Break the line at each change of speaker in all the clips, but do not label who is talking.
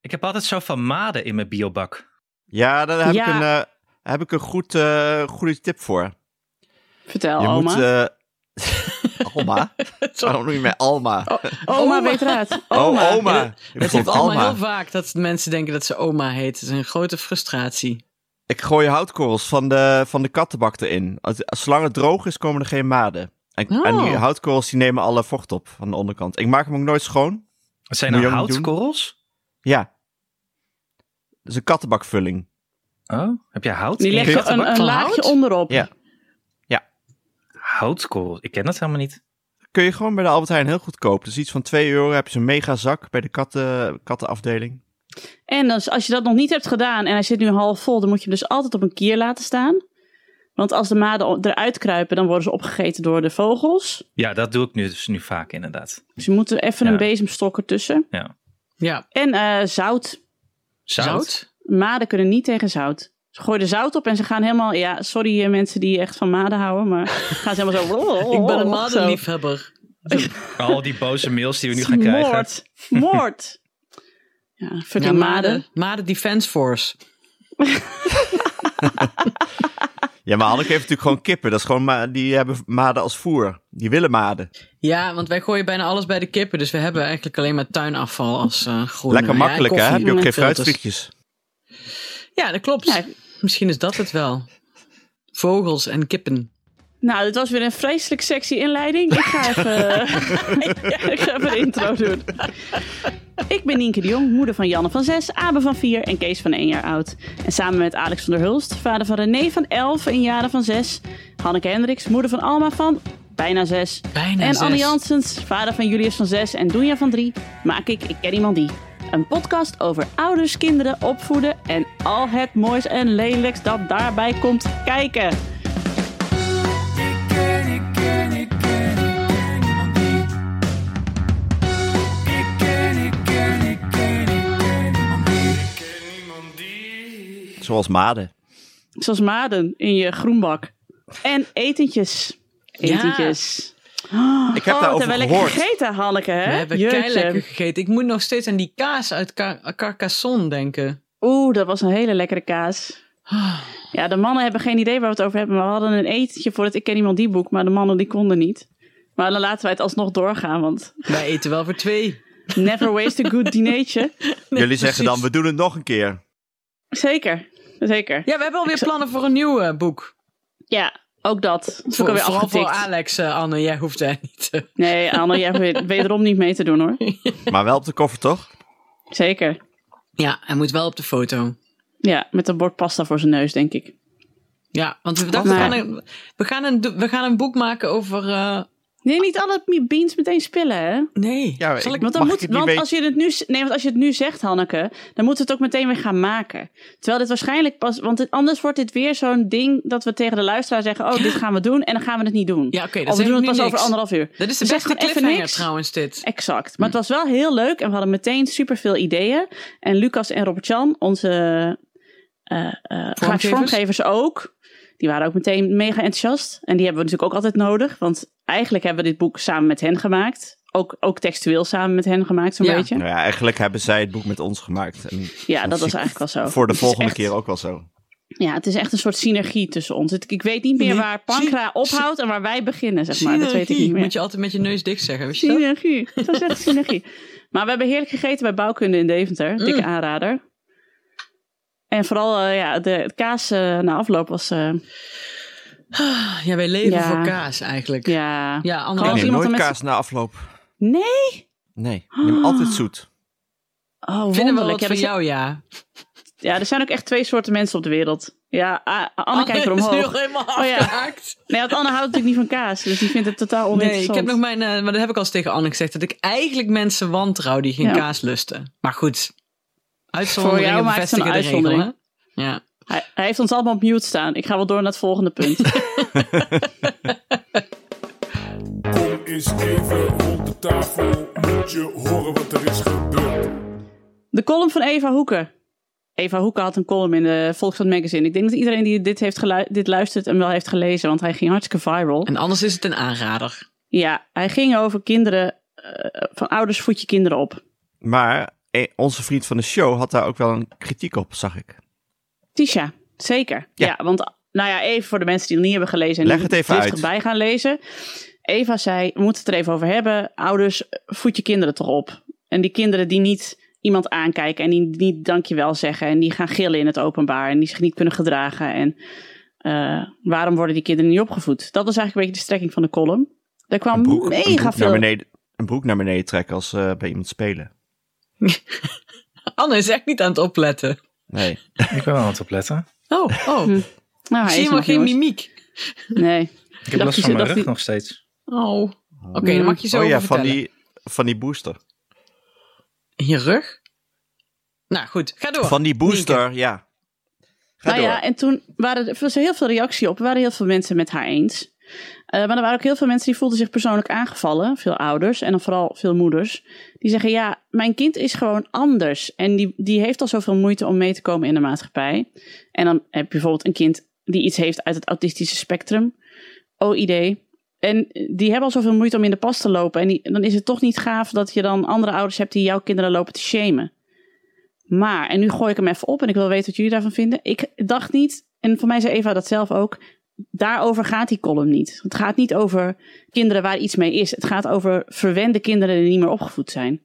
Ik heb altijd zo van maden in mijn biobak.
Ja, daar heb,
Ja.
Ik, een, eh, heb ik een goed, eh, goede tip voor.
Oh,
Vertel,
je
oma.
moet... eh, Alma?
Sorry. Oh,
Waarom noem je mij Alma?
O-
eh,
oma weet raad. Oma.
Oh, oma.
Ja,
Ik
Het
vond
heeft allemaal
Alma.
heel vaak dat mensen denken dat ze oma heet. Het is een grote frustratie.
Ik gooi houtkorrels van de, van de kattenbak erin. Als- Zolang het droog is, komen er geen maden. En,
Oh.
en die houtkorrels die nemen alle vocht op van de onderkant. Ik maak hem ook nooit schoon.
Het zijn
Moet
nou
je ook niet doen?
houtkorrels?
Ja. Dus een kattenbakvulling.
Oh, heb jij hout?
Die
in je
legt
Kun
er
je
kattenbak?
een, een
van
laagje
hout?
onderop.
Ja.
Houtkorrels? Ik ken dat helemaal niet.
Kun je gewoon bij de Albert Heijn heel goed kopen. Dus iets van 2 euro heb je zo'n mega zak bij de katten, kattenafdeling.
En als, als je dat nog niet hebt gedaan en hij zit nu half vol, dan moet je hem dus altijd op een kier laten staan. Want als de maden o- eruit kruipen, dan worden ze opgegeten door de vogels.
Ja, dat doe ik nu, dus nu vaak inderdaad.
Dus je moet er even
Ja.
een bezemstok ertussen.
Ja,
En eh, zout.
Zout?
zout.
Maden kunnen niet tegen zout. Ze gooien er zout op en ze gaan helemaal... Ja, sorry eh, mensen die echt van maden houden, maar gaan ze helemaal zo... oh,
Ik ben een
zo.
madenliefhebber.
Al die boze mails die we nu
Het
gaan
is
krijgen.
Moord. Moord. Ja, fucking maden.
Maden Defense Force.
Ja, maar Hanneke heeft natuurlijk gewoon kippen. Dat is gewoon ma- die hebben maden als voer. Die willen maden.
Ja, want wij gooien bijna alles bij de kippen. Dus we hebben eigenlijk alleen maar tuinafval als eh
nou
groene.
Lekker
Ja,
makkelijk, hè?
koffie
Heb je ook
en
geen
filters.
fruitvliegjes.
Ja, dat klopt.
Ja.
Misschien is dat het wel. Vogels en kippen.
Nou, dit was weer een vreselijk sexy inleiding. Ik ga even, Ja, ik ga even de intro doen. Ik ben Nienke de Jong, moeder van Janne van 6, Abe van 4 en Kees van 1 jaar oud. En samen met Alex van der Hulst, vader van René van 11 en Jaren van 6. Hanneke Hendricks, moeder van Alma van bijna 6.
Bijna
en
zes.
Anne Jansens, vader van Julius van 6 en Doenja van 3, maak ik Ik Ken Iemand Die. Een podcast over ouders, kinderen, opvoeden en al het moois en lelijks dat daarbij komt kijken.
Zoals maden.
Zoals maden in je groenbak. En etentjes. Etentjes.
Ik heb
oh, wat
daarover
hebben we lekker
gehoord.
gegeten, Hanneke, hè?
We hebben
Jeetje.
lekker gegeten. Ik moet nog steeds aan die kaas uit Car- Carcassonne denken.
Oeh, dat was een hele lekkere kaas.
Ah,
Ja, de mannen hebben geen idee waar we het over hebben. Maar we hadden een etentje voor het Ik Ken Iemand Die boek. Maar de mannen die konden niet. Maar dan laten wij het alsnog doorgaan. Want
Wij eten wel voor twee.
never waste a good dinertje.
Jullie zeggen dan,
precies.
we doen het nog een keer.
Zeker, zeker.
Ja, we hebben alweer plannen voor een nieuw eh, boek.
Ja, ook dat. Dat is ook
Voor,
alweer
vooral voor
afgetikt.
Alex, eh, Anne. Jij hoeft daar niet. eh,
Nee, Anne, jij hebt wederom niet mee te doen, hoor.
Maar wel op de koffer, toch?
Zeker.
Ja, hij moet wel op de foto.
Ja, met een bord pasta voor zijn neus, denk ik.
Ja, want we dachten, we,
Maar-
gaan een, we, gaan een, do- we gaan een boek maken over... eh,
Nee, niet alle mi- beans meteen spillen, hè?
nee,
Ja,
zal
ik-
ik...
Want, dan
Mag
moet,
het niet
want,
weten?
als je het nu, nee, want als je het nu zegt, Hanneke, dan moeten we het ook meteen weer gaan maken. Terwijl dit waarschijnlijk pas. Want dit- anders wordt dit weer zo'n ding dat we tegen de luisteraar zeggen: Oh, dit gaan we doen. En dan gaan we het niet doen.
Ja, oké, dat
of we
zeg
doen het
ik
pas
nu
over
niks.
anderhalf uur. Dus
Dat is de
Zeg
beste
gewoon even
cliffhanger
niks.
trouwens dit.
Exact. Maar het was wel heel leuk en we hadden meteen superveel ideeën. En Lucas en Robert-Jan, onze eh, eh, grafisch vormgevers ook, die waren ook meteen mega enthousiast. En die hebben we natuurlijk ook altijd nodig, want eigenlijk hebben we dit boek samen met hen gemaakt. Ook, ook textueel samen met hen gemaakt, zo'n
Ja.
beetje.
Nou ja, eigenlijk hebben zij het boek met ons gemaakt. En
Ja, dat was eigenlijk wel zo.
voor de
Het is
volgende
echt-
keer ook wel zo.
Ja, het is echt een soort synergie tussen ons. Het- Ik weet niet meer
Nee,
waar Pankra
sy-
ophoudt en waar wij beginnen, zeg maar. Dat weet ik
Synergie.
niet meer.
Moet je altijd met je neus dicht zeggen, weet je dat?
Synergie. Het was echt synergie. Maar we hebben heerlijk gegeten bij Bouwkunde in Deventer. Dikke
Mm.
aanrader. En vooral eh, ja, de het kaas eh, na afloop was... eh,
Ah, Ja, wij leven
Ja.
voor kaas eigenlijk. Ja,
ja.
Anne
Als
Ik neem
iemand
nooit
dan met- Ah.
kaas na afloop.
Nee?
Nee, ik neem altijd zoet.
Oh,
Vinden we
wonderlijk.
wat
Ja,
van
er zijn-
jou, ja.
ja, er zijn ook echt twee soorten mensen op de wereld. Ja, A- Anne kijkt er
Oh, is nu al
omhoog.
helemaal
Oh ja.
afgehaakt.
Nee, want Anne houdt natuurlijk niet van kaas. Dus die vindt het totaal
Nee,
oninteressant.
ik heb nog mijn... eh, maar dat heb ik al eens tegen Anne gezegd. Dat ik eigenlijk mensen wantrouw die geen
Ja.
kaas lusten. Maar goed.
Voor jou
Uitzonderingen
maakt het
bevestigen
een
de regel, hè?
uitzondering.
Ja.
Hij, hij heeft ons allemaal op mute staan. Ik ga wel door naar het volgende punt.
Kom eens even rond de tafel, moet je horen wat er is gebeurd.
De column van Eva Hoeken. Eva Hoeken had een column in de Volkskrant Magazine. Ik denk dat iedereen die dit, heeft gelu- dit luistert hem wel heeft gelezen, want hij ging hartstikke viral.
En anders is het een aanrader.
Ja, hij ging over kinderen, eh, van ouders voed je kinderen op.
Maar eh, onze vriend van de show had daar ook wel een kritiek op, zag ik.
Tisha, zeker. Ja.
Ja.
want nou ja, even voor de mensen die het niet hebben gelezen en
Leg
die
het even
driftig
uit.
bij gaan lezen. Eva zei, we moeten het er even over hebben. Ouders, voed je kinderen toch op. En die kinderen die niet iemand aankijken en die niet dankjewel zeggen en die gaan gillen in het openbaar en die zich niet kunnen gedragen. En eh, waarom worden die kinderen niet opgevoed? Dat was eigenlijk een beetje de strekking van de column. Daar kwam
Een broek, een
mega
broek
veel...
naar beneden, een broek naar beneden trekken als eh, bij iemand spelen.
Anne is echt niet aan het opletten.
Nee.
Ik ben wel aan het opletten.
Oh, oh.
Nou, hij
Zie
is
je maar
nog,
geen
jongens.
mimiek.
Nee.
Ik heb
dacht
last
je-
van mijn
dacht
rug
die-
nog steeds.
Oh. Oké,
Mm.
dan mag je zo
oh ja,
over
van
vertellen.
die, van die booster.
In je rug? Nou goed, ga door.
Van die booster, ja. Ga
nou
door.
ja, en toen waren er, was er heel veel reactie op. Er waren heel veel mensen met haar eens. Eh, maar er waren ook heel veel mensen die voelden zich persoonlijk aangevallen. Veel ouders en dan vooral veel moeders. Die zeggen, ja, mijn kind is gewoon anders. En die, die heeft al zoveel moeite om mee te komen in de maatschappij. En dan heb je bijvoorbeeld een kind die iets heeft uit het autistische spectrum. OID. En die hebben al zoveel moeite om in de pas te lopen. En die- dan is het toch niet gaaf dat je dan andere ouders hebt die jouw kinderen lopen te shamen. Maar, en nu gooi ik hem even op en ik wil weten wat jullie daarvan vinden. Ik dacht niet, en voor mij zei Eva dat zelf ook, daarover gaat die column niet. Het gaat niet over kinderen waar iets mee is. Het gaat over verwende kinderen die niet meer opgevoed zijn.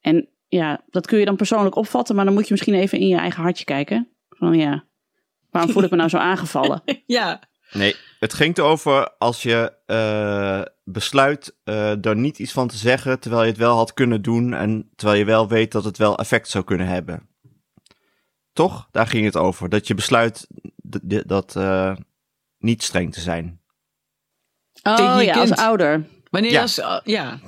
En ja, dat kun je dan persoonlijk opvatten, maar dan moet je misschien even in je eigen hartje kijken. Van ja, waarom voel ik me nou zo aangevallen?
Ja.
Nee, het ging erover als je eh, besluit eh daar niet iets van te zeggen, terwijl je het wel had kunnen doen en terwijl je wel weet dat het wel effect zou kunnen hebben. Toch? Daar ging het over. Dat je besluit d- d- dat eh, niet streng te zijn.
Oh
Tegen je
ja,
kind.
als ouder.
Wanneer
Ja.
als... ah, ja.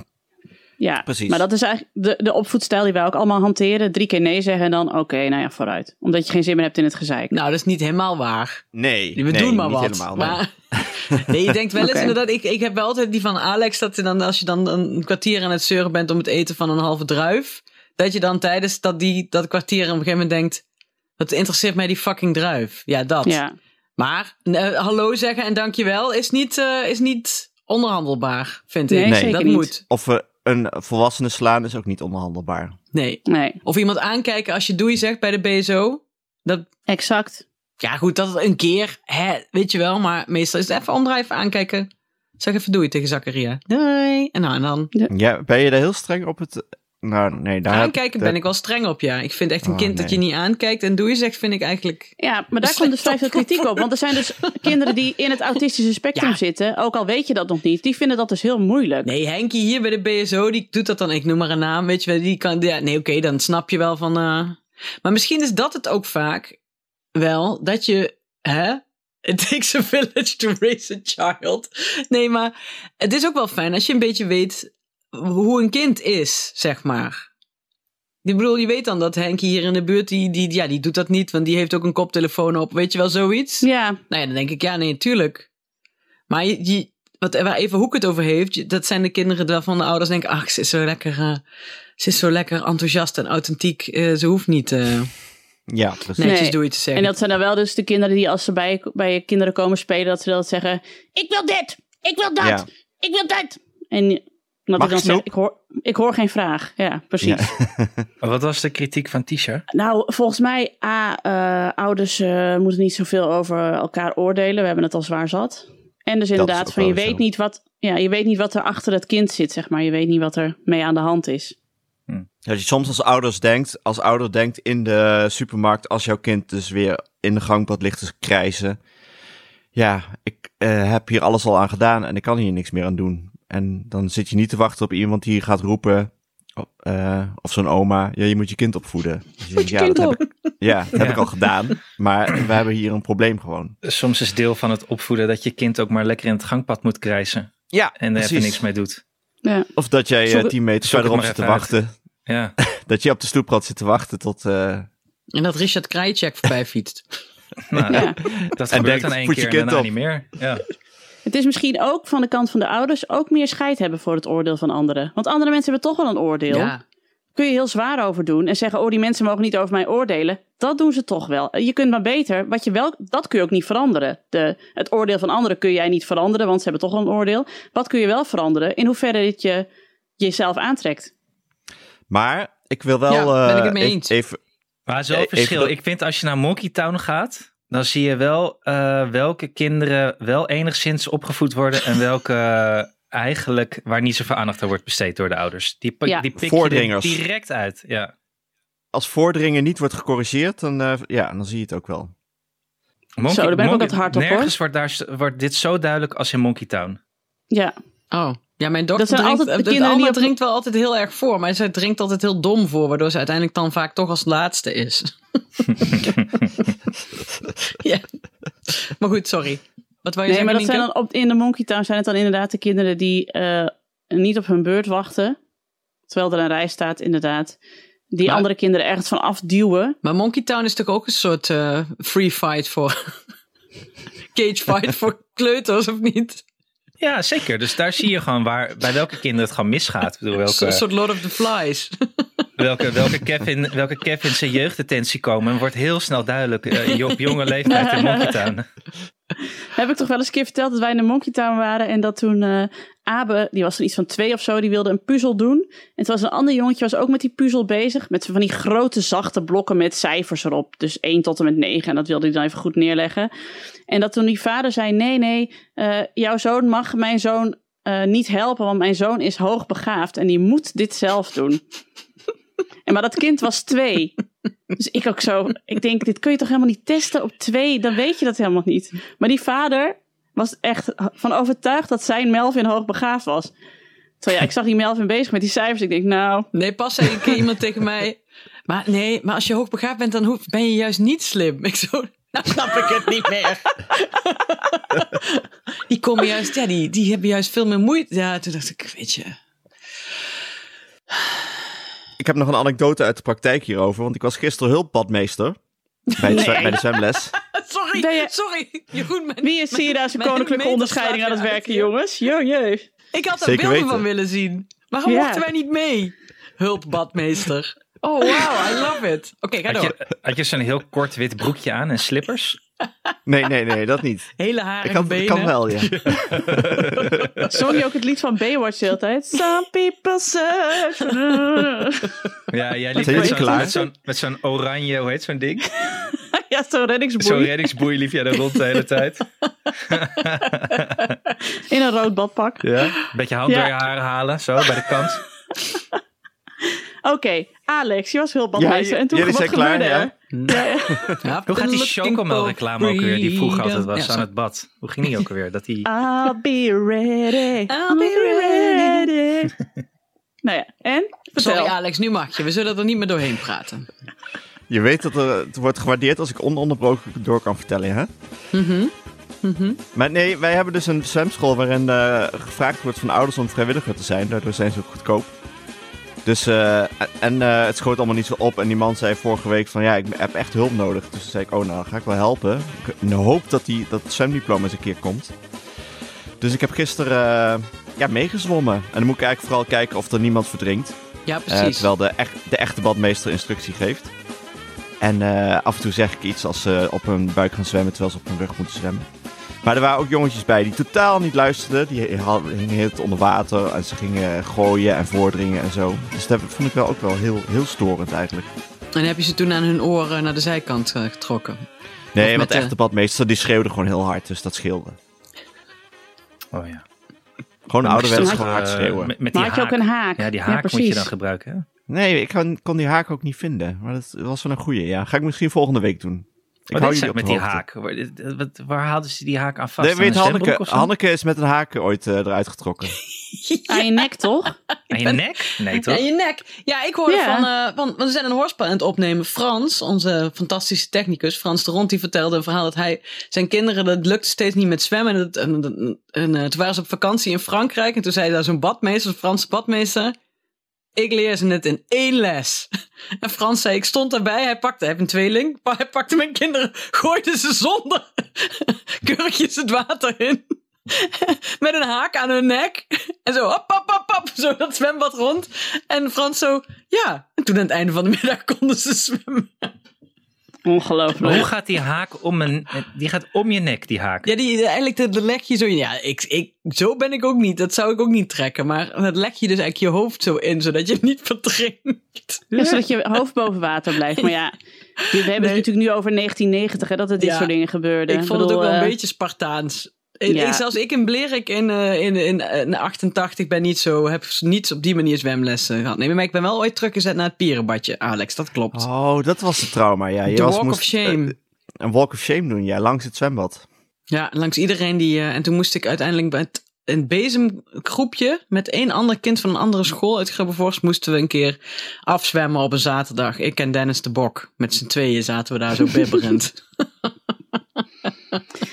Ja,
Precies.
maar dat is eigenlijk de, de opvoedstijl die wij ook allemaal hanteren. Drie keer nee zeggen en dan oké, nou ja, vooruit. Omdat je geen zin meer hebt in het gezeik.
Nou, dat is niet helemaal waar.
Nee,
We
nee,
doen maar
niet
wat.
helemaal. nee.
maar... Nee, je denkt wel eens
Oké.
inderdaad. Ik, ik heb wel altijd die van Alex dat je dan, als je dan een kwartier aan het zeuren bent om het eten van een halve druif, dat je dan tijdens dat, die, dat kwartier op een gegeven moment denkt: dat interesseert mij die fucking druif. Ja, dat.
Ja.
Maar eh, hallo zeggen en dankjewel is niet, eh, is niet onderhandelbaar, vind
Nee,
ik.
Nee. zeker
dat
niet.
moet.
Of we een volwassene slaan is ook niet onderhandelbaar.
Nee.
Nee,
Of iemand aankijken als je doei zegt bij de BSO. Dat,
exact.
ja, goed, dat een keer, hè, weet je wel, maar meestal is het even omdraaien, even aankijken. Zeg even doei tegen Zakaria. Doei. En nou, en dan
Ja, ben je daar heel streng op het... Nou, nee, daar...
Aankijken ben ik wel streng op, ja. Ik vind echt een
Oh,
kind dat je
nee.
niet aankijkt en doe je zegt, vind ik eigenlijk...
Ja, maar daar komt dus vrij veel kritiek op. Want er zijn dus kinderen die in het autistische spectrum
Ja.
zitten, ook al weet je dat nog niet, die vinden dat dus heel moeilijk.
Nee, Henkie hier bij de BSO, die doet dat dan, ik noem maar een naam, weet je wel. Die kan, ja, nee, oké, dan snap je wel van... eh. Maar misschien is dat het ook vaak wel, dat je... Hè? It takes a village to raise a child. Nee, maar het is ook wel fijn als je een beetje weet hoe een kind is, zeg maar. Ik bedoel, je weet dan dat Henkie hier in de buurt, die, die, ja, die doet dat niet, want die heeft ook een koptelefoon op. Weet je wel, zoiets?
Ja,
Nou ja, dan denk ik, ja, nee, tuurlijk. Maar je, je, wat, waar even Hoek het over heeft, je- dat zijn de kinderen waarvan de ouders denken, ach, ze is zo lekker, eh, ze is zo lekker enthousiast en authentiek. eh, ze hoeft niet eh
Ja, precies.
netjes
Nee.
doe je te
en
zeggen.
dat zijn dan wel dus de kinderen die als ze bij, bij je kinderen komen spelen, dat ze dat zeggen, ik wil dit, ik wil dat,
Ja.
ik wil dat. En wat
Mag
ik dan
ik
zeg,
snoep?
ik hoor, ik hoor geen vraag. Ja, precies.
Ja.
Maar Wat was de kritiek van Tisha?
Nou, volgens mij, A, eh, ouders eh, moeten niet zoveel over elkaar oordelen. We hebben het al zwaar zat. En dus
is
inderdaad,
ook
van je
wel
weet,
zo.
niet wat, ja, je weet niet wat er achter het kind zit, zeg maar. Je weet niet wat er mee aan de hand is.
Dat je soms als ouders denkt, als ouder denkt in de supermarkt, als jouw kind dus weer in de gangpad ligt te krijzen. Ja, ik eh, heb hier alles al aan gedaan en ik kan hier niks meer aan doen. En dan zit je niet te wachten op iemand die gaat roepen, oh, eh, of zo'n oma, ja, je moet je kind opvoeden. Dus je denkt, ja, dat heb ik, ja, dat heb
Ja.
ik al gedaan, maar we hebben hier een probleem gewoon.
Soms is deel van het opvoeden dat je kind ook maar lekker in het gangpad moet krijsen.
Ja,
En daar even
precies.
niks mee doet.
Ja.
Of dat jij
Zoek
eh,
het-
10 meter
zoek het
verderop
maar
zit te
even uit.
wachten,
Ja,
dat je op de stoeprand zit te wachten tot... eh,
En dat Richard Krajcek voorbij fietst.
nou,
Ja.
dat
En
gebeurt
denkt,
dan één
voed je
keer en
kind
daarna
op.
niet meer. Ja.
Het is misschien ook van de kant van de ouders ook meer scheid hebben voor het oordeel van anderen. Want andere mensen hebben toch wel een oordeel.
Ja.
Kun je heel zwaar over doen en zeggen, oh, die mensen mogen niet over mij oordelen. Dat doen ze toch wel. Je kunt maar beter, wat je wel, dat kun je ook niet veranderen. De, het oordeel van anderen kun jij niet veranderen, want ze hebben toch wel een oordeel. Wat kun je wel veranderen? In hoeverre dit je jezelf aantrekt.
Maar Ik wil wel
Ja, ben ik het
eh,
mee
even-
eens.
even,
Maar het is wel
Eh,
een verschil.
even-
Ik vind als je naar Monkey Town gaat, dan zie je wel eh, welke kinderen wel enigszins opgevoed worden en welke eh, eigenlijk waar niet zoveel aandacht aan wordt besteed door de ouders. Die, pa-
Ja.
die pik je er
Voordringers.
direct uit. Ja.
als voordringen niet wordt gecorrigeerd, dan, eh, ja, dan zie je het ook wel.
Monkey-
daar ben ik ook
Monkey-
wat hard op, hoor.
Nergens wordt, daar, wordt dit zo duidelijk als in Monkey Town.
Ja,
Oh, ja, mijn dochter
Dat zijn
drinkt,
altijd de
eh,
kinderen die
Anna
op-
drinkt wel altijd heel erg voor, maar zij drinkt altijd heel dom voor, waardoor ze uiteindelijk dan vaak toch als laatste is. ja. Maar goed, sorry. Wat wou je
nee,
zeggen,
maar dat zijn
Nienke?
dan op, in de Monkey Town zijn het dan inderdaad de kinderen die eh, niet op hun beurt wachten. Terwijl er een rij staat, inderdaad. Die
Maar-
andere kinderen ergens van afduwen.
Maar Monkey Town is toch ook een soort eh, free fight voor... Cage fight voor kleuters, of niet?
Ja, zeker. Dus daar zie je gewoon waar, bij welke kinderen het gewoon misgaat. Ik bedoel,
Een
welke,
soort Lord of the Flies.
welke, welke, Kevin, welke Kevin zijn jeugddetentie komen. En wordt heel snel duidelijk eh, op jonge leeftijd in Monkey Town.
Heb ik toch wel eens een keer verteld dat wij in de Monkey Town waren. En dat toen eh, Abe, die was toen iets van twee of zo, die wilde een puzzel doen. En toen was een ander jongetje was ook met die puzzel bezig. Met van die grote zachte blokken met cijfers erop. Dus 1 tot en met 9. En dat wilde hij dan even goed neerleggen. En dat toen die vader zei: Nee, nee, eh, jouw zoon mag mijn zoon eh, niet helpen, want mijn zoon is hoogbegaafd en die moet dit zelf doen. en maar dat kind was twee. Dus ik ook zo, ik denk, dit kun je toch helemaal niet testen op twee, dan weet je dat helemaal niet. Maar die vader was echt van overtuigd dat zijn Melvin hoogbegaafd was. Terwijl ja, ik zag die Melvin bezig met die cijfers, ik denk, nou,
Nee, pas zei een keer iemand tegen mij. Maar nee, maar als je hoogbegaafd bent, dan hoef- ben je juist niet slim. Ik zo, nou snap ik het niet meer. die komen juist, ja, die, die hebben juist veel meer moeite. Ja, toen dacht ik, weet je.
Ik heb nog een anekdote uit de praktijk hierover, want ik was gisteren hulpbadmeester bij, het zwe- bij de zwemles.
Sorry,
Ben je-
sorry, Jeroen. Mijn,
wie is hier daar zijn
mijn
koninklijke
meter
onderscheiding
slaat
aan het
je
werken,
uit, joh.
jongens? Jo, jee.
Ik had daar
Zeker
beelden
weten.
van willen zien. Waarom
Ja.
mochten wij niet mee? Hulpbadmeester. Oh, wow, I love it. Oké, ga
Had
door.
je, had je zo'n heel kort wit broekje aan en slippers?
Nee, nee, nee, dat niet.
Hele haren
Ik kan,
benen.
ik kan wel, ja.
Zong je ook het lied van Baywatch de hele tijd? Some people search.
Ja, jij liep
Zijn
met
jullie
zo'n,
klaar?
met, zo'n, met zo'n oranje, hoe heet zo'n ding?
ja, zo'n
Zo'n
reddingsboei.
reddingsboei liep jij daar rond de hele tijd.
In een rood badpak.
Ja. Beetje hand
Ja.
door je haren halen, zo, bij de kant.
Oké, Alex, je was heel badmeester.
Ja,
en toen,
jullie
wat
zijn klaar,
gebeurde er?
ja.
Ja, ja.
Ja,
Hoe gaat die
looking
chocomelreclame
for
ook weer, die vroeger altijd
freedom?
was
Ja,
aan het bad? Hoe ging die ook weer? Dat die...
I'll be ready.
I'll be
ready. nou ja, en? Vertel.
Sorry Alex, nu mag je. We zullen er niet meer doorheen praten.
Je weet dat er, het wordt gewaardeerd als ik ononderbroken door kan vertellen, hè? Maar nee, wij hebben dus een zwemschool waarin eh, gevraagd wordt van ouders om vrijwilliger te zijn. Daardoor zijn ze ook goedkoop. Dus, eh, en eh, het schoot allemaal niet zo op. En die man zei vorige week van, ja, ik heb echt hulp nodig. Dus toen zei ik, oh, nou, ga ik wel helpen. Ik- In de hoop dat die, dat het zwemdiploma eens een keer komt. Dus ik heb gisteren eh, ja, meegezwommen. En dan moet ik eigenlijk vooral kijken of er niemand verdrinkt.
Ja,
Eh,
precies.
terwijl de, echt, de echte badmeester instructie geeft. En eh, af en toe zeg ik iets als ze op hun buik gaan zwemmen terwijl ze op hun rug moeten zwemmen. Maar er waren ook jongetjes bij die totaal niet luisterden. Die ha- hingen heel het onder water en ze gingen eh, gooien en voordringen en zo. Dus dat vond ik wel ook wel heel, heel storend eigenlijk.
En heb je ze toen aan hun oren naar de zijkant eh, getrokken?
Nee,
met
want de
de-
echte badmeester die schreeuwde gewoon heel hard, dus dat scheelde.
Oh ja.
Gewoon
Moest
ouderwets
ook,
gewoon hard
eh,
schreeuwen.
Met, met die
Maar had je ook een haak?
Ja, die haak moet je
precies.
dan gebruiken. hè?
Nee, ik kon- kon die haak ook niet vinden. Maar dat was wel een goeie, ja. Ga ik misschien volgende week doen. Ik
Wat
hou
is
jullie
dat
op
met
de
die
hoogte.
haak? Waar, dit- wat- waar haalden ze die haak aan vast?
Nee,
Aan
weet
een zwembroek
Hanneke,
of zo?
Hanneke is met een haak ooit eh, eruit getrokken.
Aan je nek, toch?
Aan je nek? Nee, toch?
En je nek. Ja, ik hoorde
Ja.
van, eh, van, want we zijn een hoorspel aan het opnemen. Frans, onze fantastische technicus, Frans de Rond, die vertelde een verhaal dat hij, zijn kinderen, dat lukte steeds niet met zwemmen. En, dat- en, en, en, eh, toen waren ze op vakantie in Frankrijk en toen zei daar zo'n badmeester, een Franse badmeester, ik leer ze het in één les. En Frans zei, ik stond daarbij, hij pakte, hij heeft een tweeling, maar hij pakte mijn kinderen, gooide ze zonder kurkjes het water in. Met een haak aan hun nek. En zo, hop, hop, hop, hop, zo dat zwembad rond. En Frans zo, ja. En toen aan het einde van de middag konden ze zwemmen.
Hoe
Ongelooflijk.
gaat die haak om een... Die gaat om je nek, die haak.
Ja, die, eigenlijk dat lekje zo in. Ja, ik, ik, zo ben ik ook niet. Dat zou ik ook niet trekken. Maar dat leg je dus eigenlijk je hoofd zo in, zodat je het niet verdrinkt.
Ja, zodat je hoofd boven water blijft. Maar ja, dit- we hebben het
Nee.
natuurlijk nu over 1990, hè, dat er dit
Ja.
soort dingen gebeurden.
Ik vond het
bedoel,
ook wel een
eh,
beetje Spartaans. Ik-
ja.
ik- zelfs ik in Blerik in, eh, in, in, in 88 ben niet zo, heb niet op die manier zwemlessen gehad. Nee, maar ik ben wel ooit teruggezet naar het pierenbadje, Alex. Dat klopt.
Oh, dat was het trauma. Ja, je
De
was,
walk
moest,
of shame.
eh, een walk of shame doen, ja, langs het zwembad.
Ja, langs iedereen die. eh, en toen moest ik uiteindelijk bij het, een bezemgroepje met één ander kind van een andere school uit Grubbevorst moesten we een keer afzwemmen op een zaterdag. Ik en Dennis de Bok. Met z'n tweeën zaten we daar zo bibberend.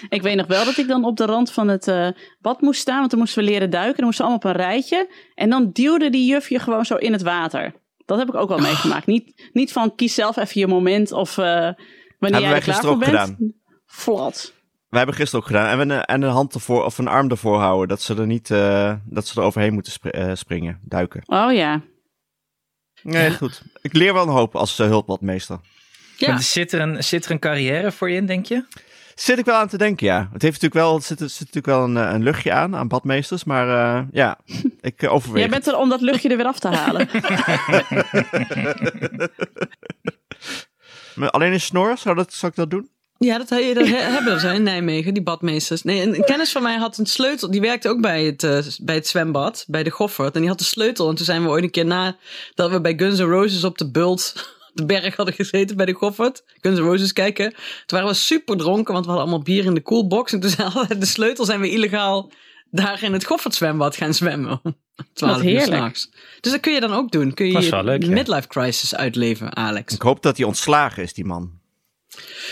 Ik weet nog wel dat ik dan op de rand van het eh, bad moest staan, want dan moesten we leren duiken. Dan moesten we allemaal op een rijtje. En dan duwde die juf je gewoon zo in het water. Dat heb ik
Oh.
ook wel meegemaakt. Niet, niet van kies zelf even je moment of eh, wanneer
Hebben
jij
wij
er klaar
gisteren
voor
ook
bent.
gedaan.
Flat.
We hebben gisteren ook gedaan. En, we een, en een hand ervoor, of een arm ervoor houden. Dat ze er niet, eh, dat ze er overheen moeten spri- eh, springen, duiken.
Oh ja.
Nee, goed. Ik leer wel een hoop als eh, hulpbadmeester.
Ja,
Maar Zit, er een, zit er een carrière voor je in, denk je?
Zit ik wel aan te denken, ja. Het heeft natuurlijk wel, het zit, er zit natuurlijk wel een, eh, een luchtje aan, aan badmeesters. Maar eh, ja, ik eh, overweeg.
Jij bent er om dat luchtje er weer af te halen.
het. Maar Alleen een snor, zou, dat, zou ik dat doen?
ja dat, he- dat he- hebben ze in Nijmegen, die badmeesters. Nee, een, een kennis van mij had een sleutel. Die werkte ook bij het, eh, bij het zwembad, bij de Goffert. En die had de sleutel. En toen zijn we ooit een keer na dat we bij Guns N' Roses op de bult. De berg hadden gezeten bij de Goffert. Guns N' Roses kijken. Toen waren we super dronken, want we hadden allemaal bier in de koelbox. En toen zijn we de sleutel zijn we illegaal daar in het Goffert zwembad gaan zwemmen. Om 12 uur
heerlijk.
s'nachts. Dus dat kun je dan ook doen. Kun je
Dat is
je
wel leuk, ja.
midlife crisis uitleven, Alex.
Ik hoop dat hij ontslagen is, die man.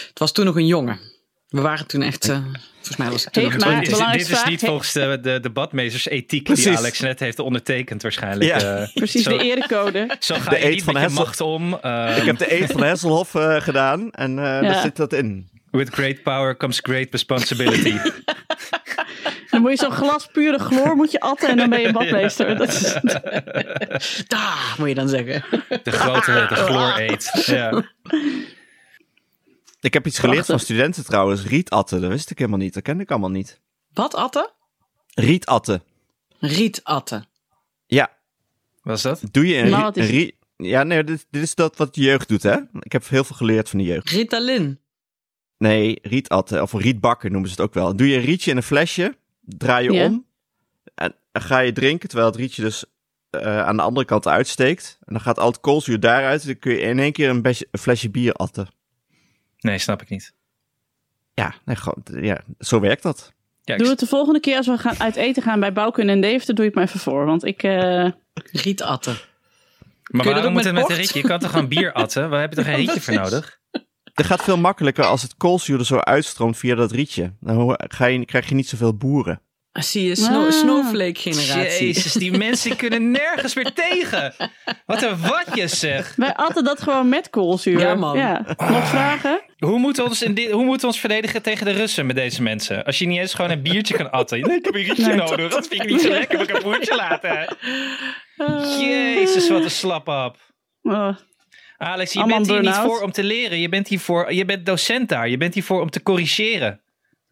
Het was toen nog een jongen. We waren toen echt. eh, volgens mij was het toen
Hey,
nog
maar-
dit, is,
belangrijkste
dit is
vraag-
niet volgens de, de, de badmeestersethiek die
Precies.
Alex net heeft ondertekend waarschijnlijk.
Ja.
Eh,
Precies,
zo,
de erecode.
zo ga
De
je
eet
niet
van
met je
Hessel.
macht om. eh,
Ik heb de eet van Hesselhoff eh, gedaan en eh, daar zit dat in.
With great power comes great responsibility.
Dan moet je zo'n glas pure chloor moet je atten en dan ben je badmeester. Dat is,
Dus Daar, moet je dan zeggen.
De grote, de chloor eet. Ja.
Ik heb iets geleerd
Prachtig.
van studenten trouwens. Rietatten, dat wist ik helemaal niet. Dat kende ik allemaal niet.
Wat atten?
Rietatten.
Rietatten.
Ja,
Was dat?
doe je een,
Maar
rie-
wat is
een rie- Ja, nee, dit, dit is dat wat de jeugd doet, hè? Ik heb heel veel geleerd van de jeugd.
Ritalin.
Nee, rietatten of rietbakken noemen ze het ook wel. Doe je een rietje in een flesje, draai je
Ja.
om en en ga je drinken terwijl het rietje dus eh, aan de andere kant uitsteekt. En dan gaat al het koolzuur daaruit en dan kun je in één keer een, besje- een flesje bier atten.
Nee, snap ik niet.
Ja, nee, gewoon, ja, zo werkt dat.
Ja, ik-
doe het de volgende keer als we gaan uit eten gaan bij Bouwkunde en Deventer. Doe je het maar even voor. Want ik, eh,
Rietatten.
maar
kun je dat
waarom
ook
moet het
met
met een
bocht?
rietje? Je kan toch gewoon bier atten? Waar heb je toch geen rietje voor
Precies.
nodig?
Het gaat veel makkelijker als het koolzuur er zo uitstroomt via dat rietje. Dan ho- ga je, krijg je niet zoveel boeren.
Ah, Zie je, snow,
Ah.
snowflake generatie.
Jezus, die mensen kunnen nergens meer tegen. Wat een watjes zeg.
wij atten dat gewoon met koolzuur.
Ja, man.
Nog vragen?
Hoe moeten we ons, in dit- hoe moeten we ons verdedigen tegen de Russen met deze mensen? Als je niet eens gewoon een biertje kan atten. Nee, ik heb een rietje
Nee,
nodig. Dat vind ik niet zo lekker. Moet ik een broertje laten? Jezus, wat een slappap.
Oh,
Alex, je
Allemaal
bent hier niet
burn-out.
voor om te leren. Je bent, hier voor, je bent docent daar. Je bent hier voor om te corrigeren.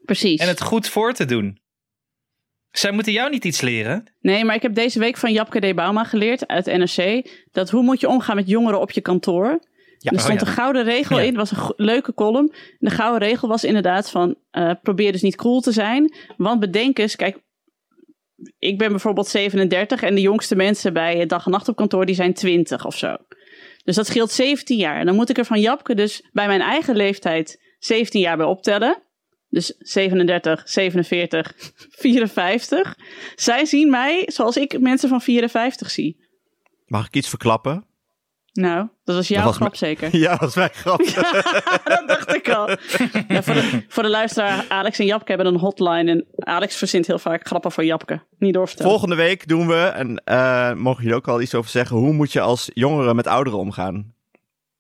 precies.
En het goed voor te doen. Zij moeten jou niet iets leren.
Nee, maar ik heb deze week van Japke D. Bauma geleerd uit NRC. Dat hoe moet je omgaan met jongeren op je kantoor. er
oh
stond
ja.
een gouden regel
Ja.
in. was een go- leuke column. En de gouden regel was inderdaad van... eh, probeer dus niet cool te zijn. Want bedenk eens... Kijk, ik ben bijvoorbeeld 37... en de jongste mensen bij dag en nacht op kantoor... die zijn 20 of zo. Dus dat scheelt 17 jaar. En dan moet ik er van Japke dus bij mijn eigen leeftijd... 17 jaar bij optellen. Dus 37, 47, 54. Zij zien mij zoals ik mensen van 54 zie.
Mag ik iets verklappen?
Nou, dat was jouw
was
grap
me-
zeker.
Ja, dat is mijn grap.
dat dacht ik al. Ja, voor, de, voor de luisteraar, Alex en Japke hebben een hotline. En Alex verzint heel vaak grappen voor Japke. Niet doorvertellen.
Volgende week doen we, en eh, mogen jullie ook al iets over zeggen, hoe moet je als jongere met ouderen omgaan?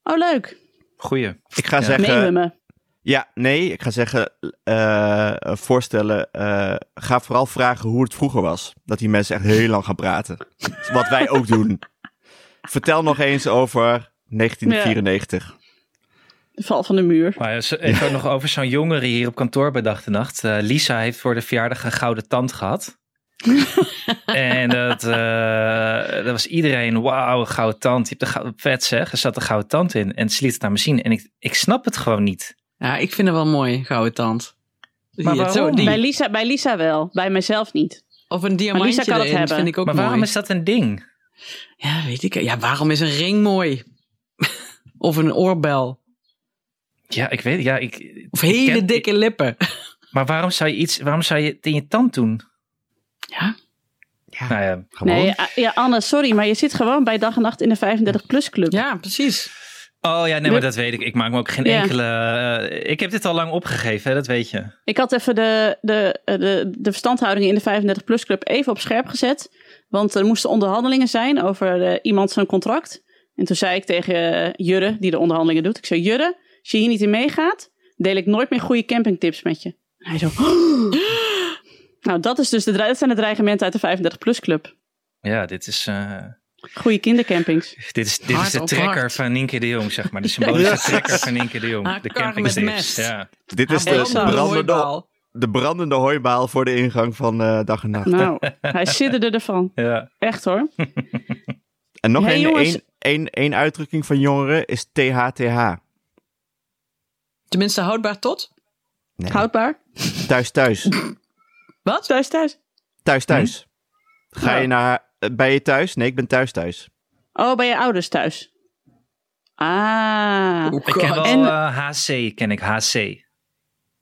Oh, leuk.
Goeie.
Ik ga
Ja.
zeggen,
Neem me.
ja, nee, ik ga zeggen, eh, voorstellen, eh, ga vooral vragen hoe het vroeger was. Dat die mensen echt heel lang gaan praten. Wat wij ook doen. Vertel nog eens over 1994.
De val van de muur.
Maar ja, ze- even nog over zo'n jongere hier op kantoor bij dag en nacht. Eh, Lisa heeft voor de verjaardag een gouden tand gehad. en dat, eh, dat was iedereen, wauw, een gouden tand. Je hebt een gou- vet zeg, er zat een gouden tand in. En ze liet het aan me zien en ik, ik snap het gewoon niet.
Ja, ik vind het wel mooi, gouden tand.
Maar
Hier,
waarom?
die.
Bij Lisa, bij Lisa wel, bij mijzelf niet.
Of een
kan
diamantje
het
erin, dat
hebben.
vind ik ook
Maar
mooi.
waarom is dat een ding?
Ja, weet ik. Ja, waarom is een ring mooi? of een oorbel.
Ja, ik weet ja, ik,
Of hele
Ik ken-
dikke lippen.
Maar waarom zou je iets, waarom zou je het in je tand doen?
Ja.
Nou ja,
Gewoon.
Nee, a- ja, Anne, sorry, maar je zit gewoon bij dag en nacht in de 35-plus club.
ja, precies.
Oh ja, nee, maar
Met-
dat weet ik. Ik maak me ook geen
Ja.
enkele. eh, ik heb dit al lang opgegeven, hè, dat weet je.
Ik had even de, de, eh, de, de verstandhouding in de 35-plus club even op scherp gezet. Want er moesten onderhandelingen zijn over eh, iemand zijn contract. En toen zei ik tegen eh, Jurre, die de onderhandelingen doet. Ik zei, Jurre, als je hier niet in meegaat, deel ik nooit meer goede campingtips met je. En hij zo... nou, dat, is dus de, dre- dat zijn de dreigementen uit de 35-plus club.
Ja, dit is, eh,
Goede kindercampings.
dit is, dit is
Hard
de
op
trekker
hard.
van Nienke de Jong, zeg maar. De symbolische
Ja.
trekker van Nienke de Jong.
Haar
de
kar met
campingtips.
mes.
Ja.
Dit is
Haar
de
brandende
brandende,
hooibaal.
de brandende hooibaal voor de ingang van eh, dag en nacht.
Nou, hij sidderde ervan.
Ja.
Echt hoor.
En nog
Hey,
één
jongens.
één- één- één uitdrukking van jongeren is THTH.
Tenminste, houdbaar tot.
Nee.
Houdbaar.
Thuis, thuis.
Wat?
Thuis, thuis.
Thuis, thuis. Ga je naar, eh, ben je thuis? Nee, ik ben thuis, thuis.
Oh, bij je ouders thuis. Ah.
Oh,
Ik ken wel
God.
En-
eh, HC, ken ik HC.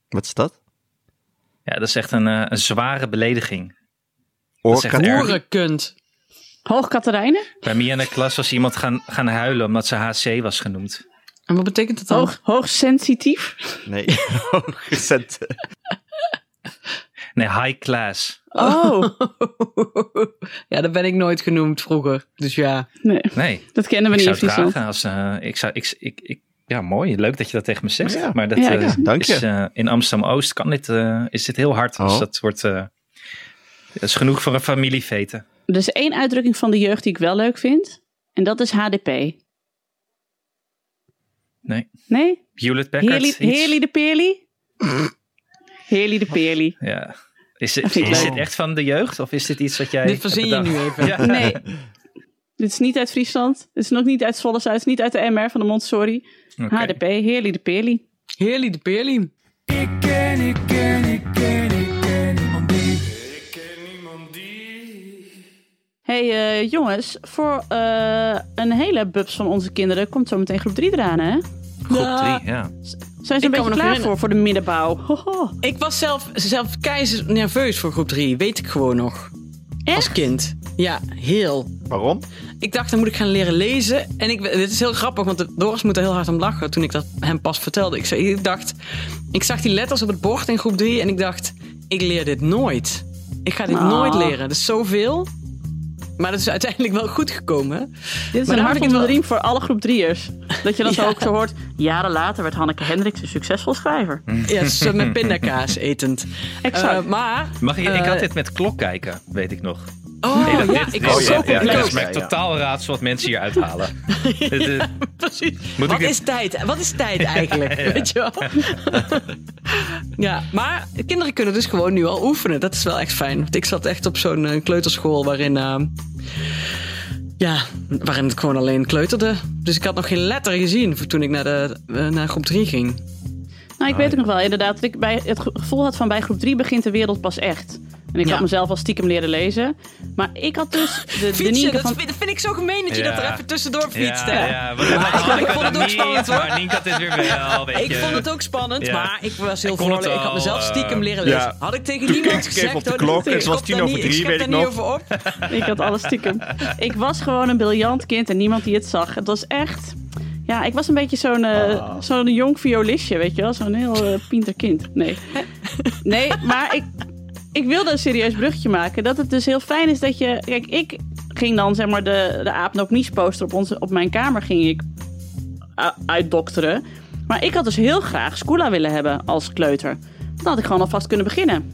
Wat is dat?
Ja, dat is echt een, eh, een zware belediging. is echt
Oorkat-
erg.
Hoerenkunt.
Hoog Katarijnen?
Bij mij in de klas was iemand gaan, gaan huilen omdat ze HC was genoemd.
En wat betekent dat dan?
Hoog, hoog sensitief?
Nee, Oh, Hoogcent-
Nee, high class.
Oh,
ja, dat ben ik nooit genoemd vroeger. Dus ja.
nee.
Nee,
Dat kennen we
ik
niet
zou
in
het
Friesland.
dragen als... eh, ik zou, ik, ik, ik, ja, mooi. Leuk dat je dat tegen me zegt.
Ja.
Maar dat,
Ja,
eh,
ja.
Dank je.
Is, eh, in Amsterdam-Oost kan dit, eh, is dit heel hard.
Oh.
Dus dat wordt... eh, dat is genoeg voor een familiefete.
Er is één uitdrukking van de jeugd die ik wel leuk vind. En dat is HDP.
Nee.
Nee?
Hewlett Packard?
Heerly,
iets?
Heerly de Peerly? Heerly de Peerly.
Ja. Is,
Dat
dit,
vind ik
is
leuk.
dit echt van de jeugd? Of is dit iets wat jij...
Dit verzin je
hebt
nu
bedacht?
even.
Ja.
Nee. Dit is niet uit Friesland. Dit is nog niet uit Zwolle Zuid. Het is niet uit de MR van de Montessori.
Oké.
HDP, Heerly de Peerly.
Heerly de Peerly.
Ik ken, ik ken, ik ken, ik ken niemand die. Ik ken niemand die.
hey, eh, jongens. Voor eh, een hele bubs van onze kinderen komt zo meteen groep 3 eraan, hè?
Groep
Nou, Ah.
drie, ja.
Zijn ze een
Ik kan me nog
beetje klaar voor,
herinneren.
voor de middenbouw? Hoho.
Ik was zelf, zelf keizer nerveus voor groep 3. Weet ik gewoon nog. Als
Echt?
kind. Ja, heel.
Waarom?
Ik dacht, dan moet ik gaan leren lezen. En ik, dit is heel grappig, want de- Doris moet er heel hard om lachen toen ik dat hem pas vertelde. Ik, zei- ik dacht, ik zag die letters op het bord in groep 3 en ik dacht, ik leer dit nooit. Ik ga dit
Ah.
nooit leren. Dat is zoveel. Maar dat is uiteindelijk wel goed gekomen.
Dit is
Maar
een
daar
hart
vond
onder de
wel-
riem voor alle groep drieërs. Dat je dan zo ook zo hoort. Jaren later werd Hanneke Hendricks een succesvol schrijver.
Ja, dus, eh, met pindakaas etend.
Exact.
Eh, maar...
Mag ik, ik
eh,
had dit met klok kijken, weet ik nog.
Oh,
Nee, dat-
ja,
dit-
ik
dit-
was zo
ja, ja,
compleet.
dit is
Ja,
mij
ja.
totaal raadsel wat mensen hier uithalen. Dit, eh,
Precies.
Moet
Wat
ik dit-
is tijd? Wat is tijd eigenlijk? Weet je wel? ja, maar kinderen kunnen dus gewoon nu al oefenen. Dat is wel echt fijn. Want ik zat echt op zo'n eh, kleuterschool waarin... eh, ja, waarin het gewoon alleen kleuterde. Dus ik had nog geen letter gezien voor toen ik naar, de, eh, naar groep 3 ging.
Nou, ik weet ook nog wel inderdaad dat ik bij het ge- gevoel had van bij groep 3 begint de wereld pas echt. En ik
Ja.
had mezelf al stiekem leren lezen. Maar ik had dus de, de
Fietsen,
Nienke
dat,
van...
vind, dat vind ik zo gemeen dat je
Ja.
dat er even tussendoor fietst.
ja,
hè?
ja, want dat had
ik
ik
vond
dat
het ook
niet,
spannend, hoor.
maar Nienke had dit weer wel, weet
Ik
je.
vond het ook spannend,
Ja.
maar ik was heel
Ik kon het
vrolijk. Ik had
al,
mezelf
eh,
stiekem leren
ja.
lezen. Had ik tegen niemand
ik
gezegd.
even op de
hoor,
klok,
dit-
het was
ik
tien
daar
over
niet-
drie,
Ik
weet
schep
ik
daar niet
nog.
over op.
Ik had alles stiekem. Ik was gewoon een briljant kind en niemand die het zag. Het was echt... Ja, ik was een beetje zo'n eh, zo'n jong violistje, weet je wel. Zo'n heel eh, pinter kind. Nee. Nee, maar ik, ik wilde een serieus bruggetje maken. Dat het dus heel fijn is dat je... Kijk, ik ging dan zeg maar de, de aapnookmies poster op, onze, op mijn kamer ging ik u- uitdokteren. Maar ik had dus heel graag Scula willen hebben als kleuter. Dan had ik gewoon alvast kunnen beginnen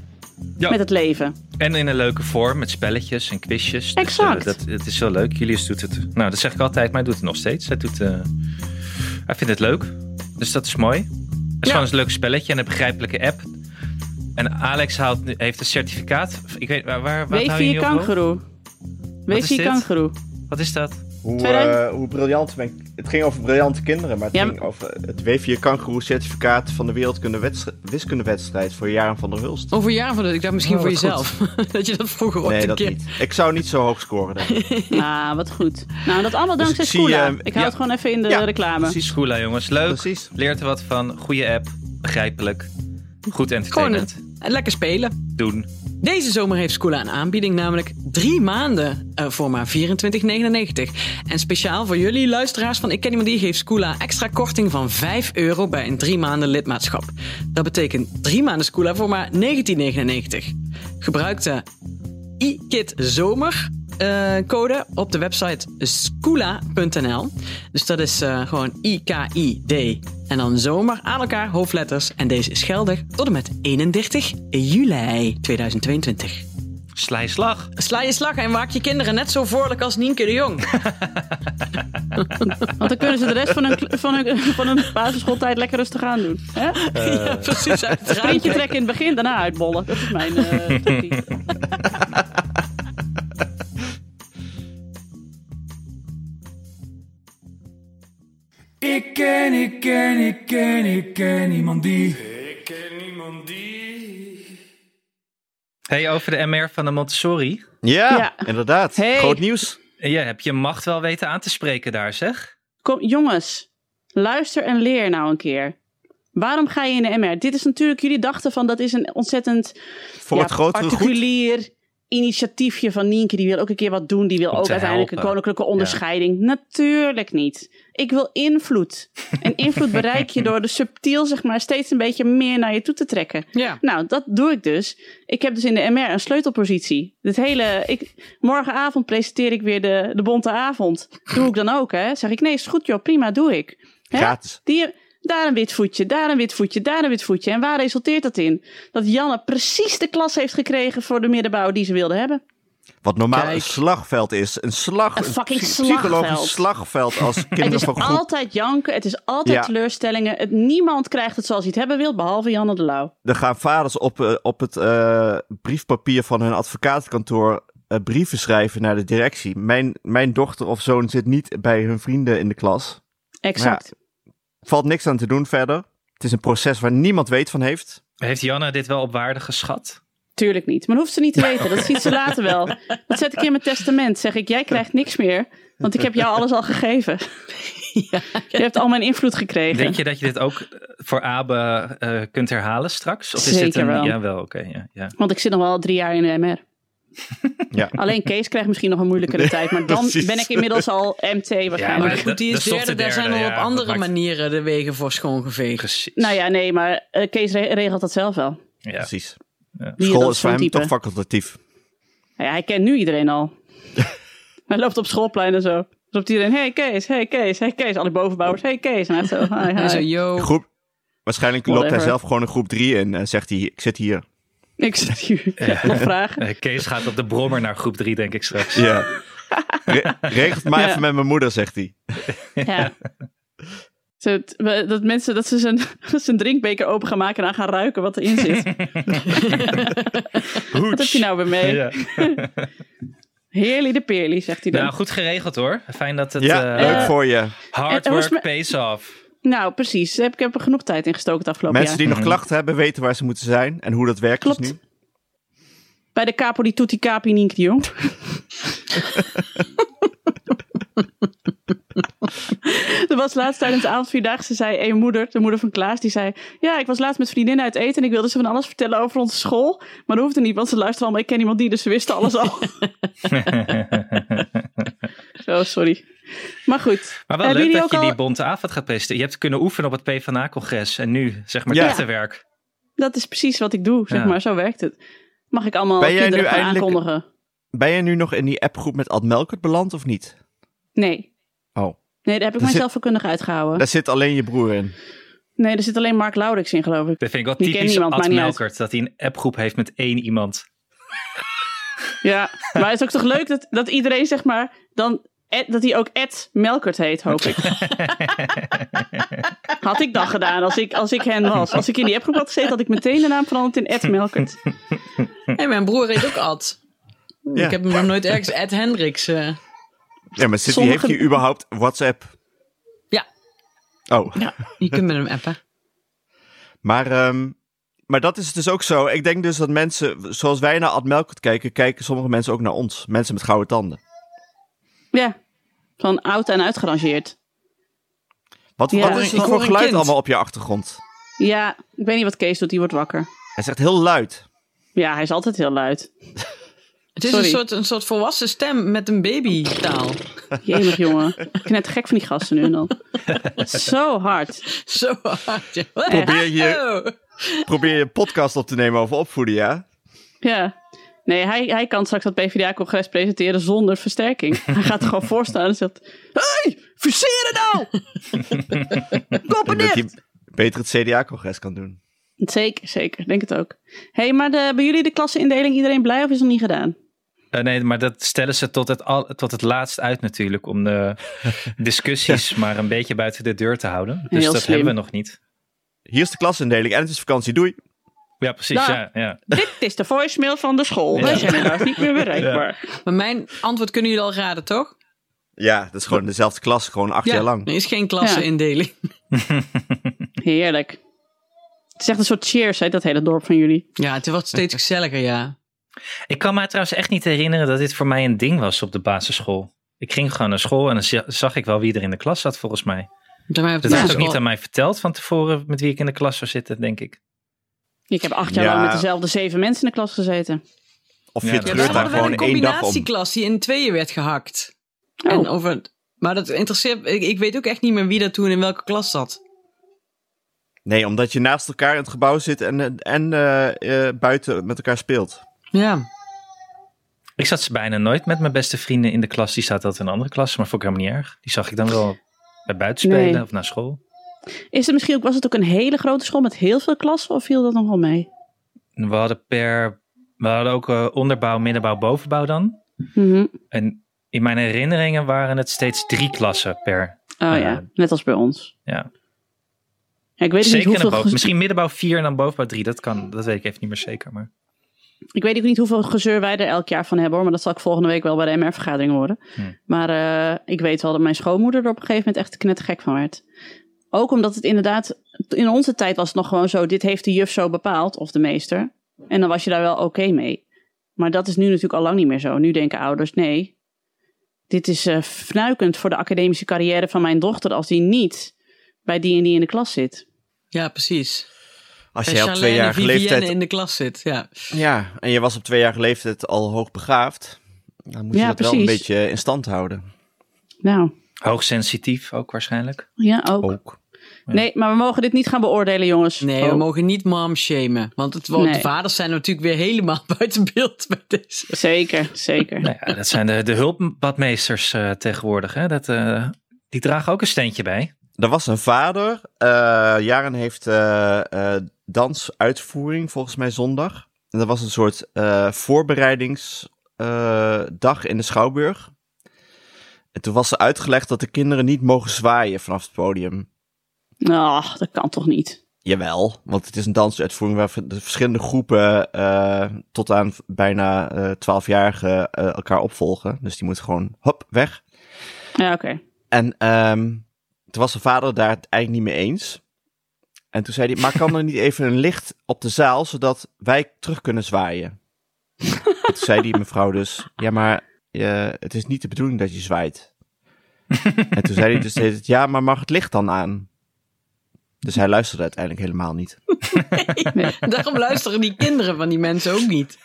Ja.
met het leven.
En in een leuke vorm, met spelletjes en quizjes.
Exact.
Dus, eh, dat, het is wel leuk. Julius doet het. Nou, dat zeg ik altijd, maar hij doet het nog steeds. Hij, doet, eh, hij vindt het leuk. Dus dat is mooi. Het is gewoon eens een leuk spelletje en een begrijpelijke app. En Alex haalt, nu- heeft een certificaat. Ik weet, waar, waar, wat hou je
W4
nu op, Rob?
kangeroe. W4
dit?
kangeroe.
Wat is dat?
Hoe,
Tweede-
eh, hoe briljant ben ik- Het ging over briljante kinderen, maar het
Ja,
ging over het W4 kangoeroe certificaat van de wereldkunde wiskundewedstrijd voor Jaren van der Hulst.
Over jaren van dat. Ik dacht misschien
Oh,
voor
wat
jezelf. dat je dat vroeger ooit
nee,
Oh, een
dat
keer...
niet. Ik zou niet zo hoog scoren. Denk ik.
Ah, wat goed. Nou, dat allemaal
Dus
dankzij
ik zie,
Scoola.
eh,
ik
ja.
hou het gewoon even in de
Ja,
reclame.
Precies. Schoola, jongens. Leuk.
Precies.
Leert er wat van. Goede app. Begrijpelijk. Goed
Gewoon
entertainment.
het. En Lekker spelen.
Doen.
Deze zomer heeft Scoola een aanbieding, namelijk drie maanden eh, voor maar 24,99. En speciaal voor jullie luisteraars van Ik Ken Iemand Die geeft Scoola extra korting van 5 euro bij een drie maanden lidmaatschap. Dat betekent drie maanden Scoola voor maar 19,99. Gebruik de iKit Zomer eh, code op de website scoola.nl. Dus dat is eh, gewoon I-K-I-D en dan zomer aan elkaar hoofdletters. En deze is geldig tot en met 31 juli 2022.
Sla slag.
Sla je slag en maak je kinderen net zo voorlijk als Nienke de Jong.
Want dan kunnen ze de rest van hun, van hun, van hun basisschooltijd lekker rustig aan doen. Hè?
Eh.
ja, precies. uit het
Printje
raampje.
trekken in het begin, daarna uitbollen. Dat is mijn eh tactiek.
Ik ken, ik ken, ik ken, ik ken niemand die. Ik ken niemand die.
Hey, over de MR van de Montessori.
Ja,
Ja.
inderdaad.
Hey.
Groot nieuws.
Ja, heb je macht wel weten aan te spreken daar, zeg?
Kom, jongens, luister en leer nou een keer. Waarom ga je in de MR? Dit is natuurlijk, jullie dachten van dat is een ontzettend
Voor
ja,
het grotere goed.
particulier initiatiefje van Nienke. Die wil ook een keer wat doen. Die wil
Om
ook
te
uiteindelijk een
helpen.
koninklijke onderscheiding. Natuurlijk niet. Ik wil invloed. En invloed bereik je door de subtiel, zeg maar, steeds een beetje meer naar je toe te trekken.
Ja.
Nou, dat doe ik dus. Ik heb dus in de MR een sleutelpositie. Dit hele, ik, morgenavond presenteer ik weer de, de bonte avond. Doe ik dan ook, hè? Zeg ik, nee, is goed joh, prima, doe ik. Hè?
Gratis.
Die, daar een wit voetje, daar een wit voetje, daar een wit voetje. En waar resulteert dat in? Dat Janne precies de klas heeft gekregen voor de middenbouw die ze wilde hebben.
Wat normaal
Kijk.
een slagveld is. Een slag.
Een fucking
psy- psychologisch
slagveld.
slagveld als kinderen
het is
van groep.
altijd janken, het is altijd
Ja.
teleurstellingen. Het, niemand krijgt het zoals hij het hebben wil, behalve Janne de Lauw.
Er gaan vaders op, eh, op het eh, briefpapier van hun advocatenkantoor eh, brieven schrijven naar de directie. Mijn, mijn dochter of zoon zit niet bij hun vrienden in de klas.
Exact.
Valt niks aan te doen verder. Het is een proces waar niemand weet van heeft.
Heeft Janne dit wel op waarde geschat?
Tuurlijk niet. Maar dat hoeft ze niet te weten. Dat ziet ze later wel. Dat zet ik in mijn testament. Zeg ik, jij krijgt niks meer. Want ik heb jou alles al gegeven. Je hebt al mijn invloed gekregen.
Denk je dat je dit ook eh, voor Abe eh, kunt herhalen straks? Of is dit
Zeker
een...
wel.
Ja, wel, oké. ja, ja.
Want ik zit nog wel drie jaar in de MR.
Ja.
Alleen Kees krijgt misschien nog een moeilijkere tijd. Maar dan
precies.
ben ik inmiddels al MT waarschijnlijk.
Maar goed, die
Dat
is
is toch
derde.
de
Daar zijn
derde,
al
ja,
op
dat
andere
maakt-
manieren de wegen voor schoongeveegd.
Precies.
Nou ja, nee, maar eh, Kees re- regelt dat zelf wel.
ja.
Precies.
Wie
School
dat
is voor hem
zo'n type.
toch facultatief.
Nou ja, hij kent nu iedereen al. hij loopt op schoolplein en zo. Roept iedereen, hey Kees, hey Kees, hey Kees. Alle bovenbouwers, hey Kees. En hij zo, hi, hi.
En zo, yo.
Groep, waarschijnlijk loopt hij
Whatever.
zelf gewoon een groep 3 in en zegt hij, ik zit hier.
Ik zit hier. Nog vragen?
Eh, Kees gaat op de brommer naar groep 3, denk ik straks.
Ja. Re- regelt mij
Ja.
even met mijn moeder, zegt hij.
Ja. Zo, het- we- dat mensen dat ze zijn, zijn drinkbeker open gaan maken en aan gaan ruiken wat erin zit. wat heb je nou weer mee?
Ja.
Heerly de peerly, zegt hij dan.
Nou, goed geregeld hoor. Fijn dat het
Ja,
eh,
leuk voor je.
hard
en hoe is
work
me-
pays off.
Nou, precies. Daar heb Ik heb er genoeg tijd in gestoken het afgelopen
Mensen
jaar.
die nog klachten hebben, weten waar ze moeten zijn en hoe dat werkt dus
Klopt.
nu.
Bij de capo die toetie capi Nienke de Jong. Er was laatst tijdens de avondvierdaagse, zei een moeder, de moeder van Klaas, die zei... Ja, ik was laatst met vriendinnen uit eten en ik wilde ze van alles vertellen over onze school. Maar dat hoefde niet, want ze luisterden allemaal, ik ken iemand die, dus ze wisten alles al. oh, sorry. Maar goed.
Maar wel
Hebben
leuk
jullie
dat
ook
je die
al-
bonte avond gaat presenteren. Je hebt kunnen oefenen op het PvdA-congres en nu zeg maar
Ja.
dit te werk.
Dat is precies wat ik doe, zeg
Ja.
maar. Zo werkt het. Mag ik allemaal
Ben jij
kinderen
nu
gaan
eindelijk-
aankondigen?
Ben je nu nog in die appgroep met Ad Melkert beland of niet?
Nee.
Oh.
Nee, daar heb ik
zit-
mijzelf vakkundig uitgehouden.
Daar zit alleen je broer in.
Nee, er zit alleen Mark Laurix in, geloof ik.
Dat vind ik wel
Die kent
typisch
niemand,
Ad
maakt niet uit.
Melkert. Dat hij een appgroep heeft met één iemand.
Ja, maar het is ook toch leuk dat, dat iedereen, zeg maar, dan Ed- dat hij ook Ed Melkert heet, hoop ik. had ik dat gedaan als ik, als ik hen was. Als ik in die appgroep had gezeten, had ik meteen de naam veranderd in Ed Melkert.
Hey, mijn broer heet ook Ad.
Ja.
Ik heb hem nog nooit ergens Ed Hendricks. eh.
Ja, maar City
Sommige-
heeft hier überhaupt WhatsApp.
Ja,
Oh,
je kunt met hem appen.
maar, ehm, maar dat is dus ook zo. Ik denk dus dat mensen, zoals wij naar Ad Melkert kijken, kijken sommige mensen ook naar ons. Mensen met gouden tanden.
Ja, van oud en uitgerangeerd.
Wat,
Ja.
wat is
Ik
dat
hoor
voor
een
geluid
kind.
allemaal op je achtergrond?
Ja, ik weet niet wat Kees doet, die wordt wakker.
Hij zegt heel luid.
Ja, hij is altijd heel luid.
Het is
Sorry.
een soort, een soort volwassen stem met een babytaal.
Jemig jongen. Ik ben net gek van die gasten nu al. Zo hard.
Zo hard. ja.
Probeer je,
Oh.
probeer je een podcast op te nemen over opvoeden, ja?
Ja. Nee, hij, hij kan straks dat PvdA-congres presenteren zonder versterking. Hij gaat er gewoon voor staan en zegt... Hey, verseren nou!
Ik denk dat je beter het CDA-congres kan doen.
Zeker, zeker. Denk het ook. hey, maar de, bij jullie de klassenindeling iedereen blij of is dat niet gedaan?
Eh, nee, maar dat stellen ze tot het, al, tot het laatst uit natuurlijk. Om de discussies maar een beetje buiten de deur te houden. Dus
Heel
dat
slim.
hebben we nog niet.
Hier is de klasindeling en het is vakantie. Doei.
Ja, precies.
Nou.
Ja, ja.
Dit is de voicemail van de school. Wij
Ja.
zijn helaas niet meer bereikbaar.
Maar mijn antwoord kunnen jullie al raden, toch?
Ja, dat is gewoon dezelfde klas, gewoon acht jaar lang.
Er is geen klassenindeling.
Heerlijk. Het is echt een soort cheers, hè, dat hele dorp van jullie.
Ja, het wordt steeds gezelliger, ja.
Ik kan me trouwens echt niet herinneren dat dit voor mij een ding was op de basisschool. Ik ging gewoon naar school en dan zi- zag ik wel wie er in de klas zat volgens mij. Dus
Dat mij
Dat
op de
werd ook
basisschool-
niet aan mij verteld van tevoren met wie ik in de klas zou zitten, denk ik.
Ik heb acht jaar
Ja.
lang met dezelfde zeven mensen in de klas gezeten.
Of
Ja,
je
dat-
Ja,
treurt
daar
daar
hadden we
gewoon
een
één dag om.
combinatieklas die in tweeën werd gehakt.
Oh.
En over, maar dat interesseert... Ik, ik weet ook echt niet meer wie dat toen in welke klas zat.
Nee, omdat je naast elkaar in het gebouw zit en, eh, en eh, eh, buiten met elkaar speelt.
Ja.
Ik zat bijna nooit met mijn beste vrienden in de klas. Die zaten altijd in een andere klas, maar vond ik helemaal niet erg. Die zag ik dan wel bij buitenspelen
Nee.
of naar school.
Is het misschien ook, was het ook een hele grote school met heel veel klassen of viel dat nog wel mee?
We hadden per. We hadden ook eh, onderbouw, middenbouw, bovenbouw dan.
Mhm.
En in mijn herinneringen waren het steeds drie klassen per.
Oh
Ah,
ja,
ja.
net als bij ons.
Ja.
Ja, ik, weet ook
Zeker
niet
in de
hoeveel
boven.
gez-
Misschien middenbouw vier en dan bovenbouw drie. Dat kan. Dat weet ik even niet meer zeker. Maar
ik weet ook niet hoeveel gezeur wij er elk jaar van hebben hoor. Maar dat zal ik volgende week wel bij de MR-vergadering horen.
Hm.
Maar eh, ik weet wel dat mijn schoonmoeder er op een gegeven moment echt knettergek van werd. Ook omdat het inderdaad, in onze tijd was het nog gewoon zo. Dit heeft de juf zo bepaald, of de meester. En dan was je daar wel oké mee. Maar dat is nu natuurlijk al lang niet meer zo. Nu denken ouders, nee. Dit is eh fnuikend voor de academische carrière van mijn dochter. Als die niet bij die en die in de klas zit.
Ja, precies.
Als
En
jij op
Charlène en
tweejarige
Vivienne
leeftijd...
in de klas zit, ja.
Ja, en je was op tweejarige leeftijd al hoogbegaafd. Dan moet je
Ja,
dat wel een
precies.
beetje in stand houden.
Nou,
hoogsensitief ook waarschijnlijk.
ja ook.
Ook.
Nee, maar we mogen dit niet gaan beoordelen, jongens.
Nee,
Oh.
we mogen niet mom shamen. Want het, wordt-
Nee.
de vaders zijn natuurlijk weer helemaal buiten beeld bij deze.
Zeker, zeker.
Nou ja, dat zijn de, de hulpbadmeesters eh, tegenwoordig. Hè? Dat, eh, die dragen ook een steentje bij.
Er was een vader. eh Jaren heeft eh, eh, dansuitvoering volgens mij zondag. En dat was een soort eh, voorbereidingsdag in de Schouwburg. En toen was er uitgelegd dat de kinderen niet mogen zwaaien vanaf het podium.
Nou, dat kan toch niet?
Jawel, want het is een dansuitvoering waar de verschillende groepen eh, tot aan bijna eh 12-jarigen eh, elkaar opvolgen. Dus die moet gewoon hop, weg.
Ja, oké.
En ehm toen was zijn vader daar het eigenlijk niet mee eens. En toen zei hij, maar kan er niet even een licht op de zaal, zodat wij terug kunnen zwaaien? En toen zei die mevrouw dus, ja, maar eh, het is niet de bedoeling dat je zwaait. en toen zei hij dus steeds, ja, maar mag het licht dan aan? Dus hij luisterde uiteindelijk helemaal niet.
Daarom luisteren die kinderen van die mensen ook niet.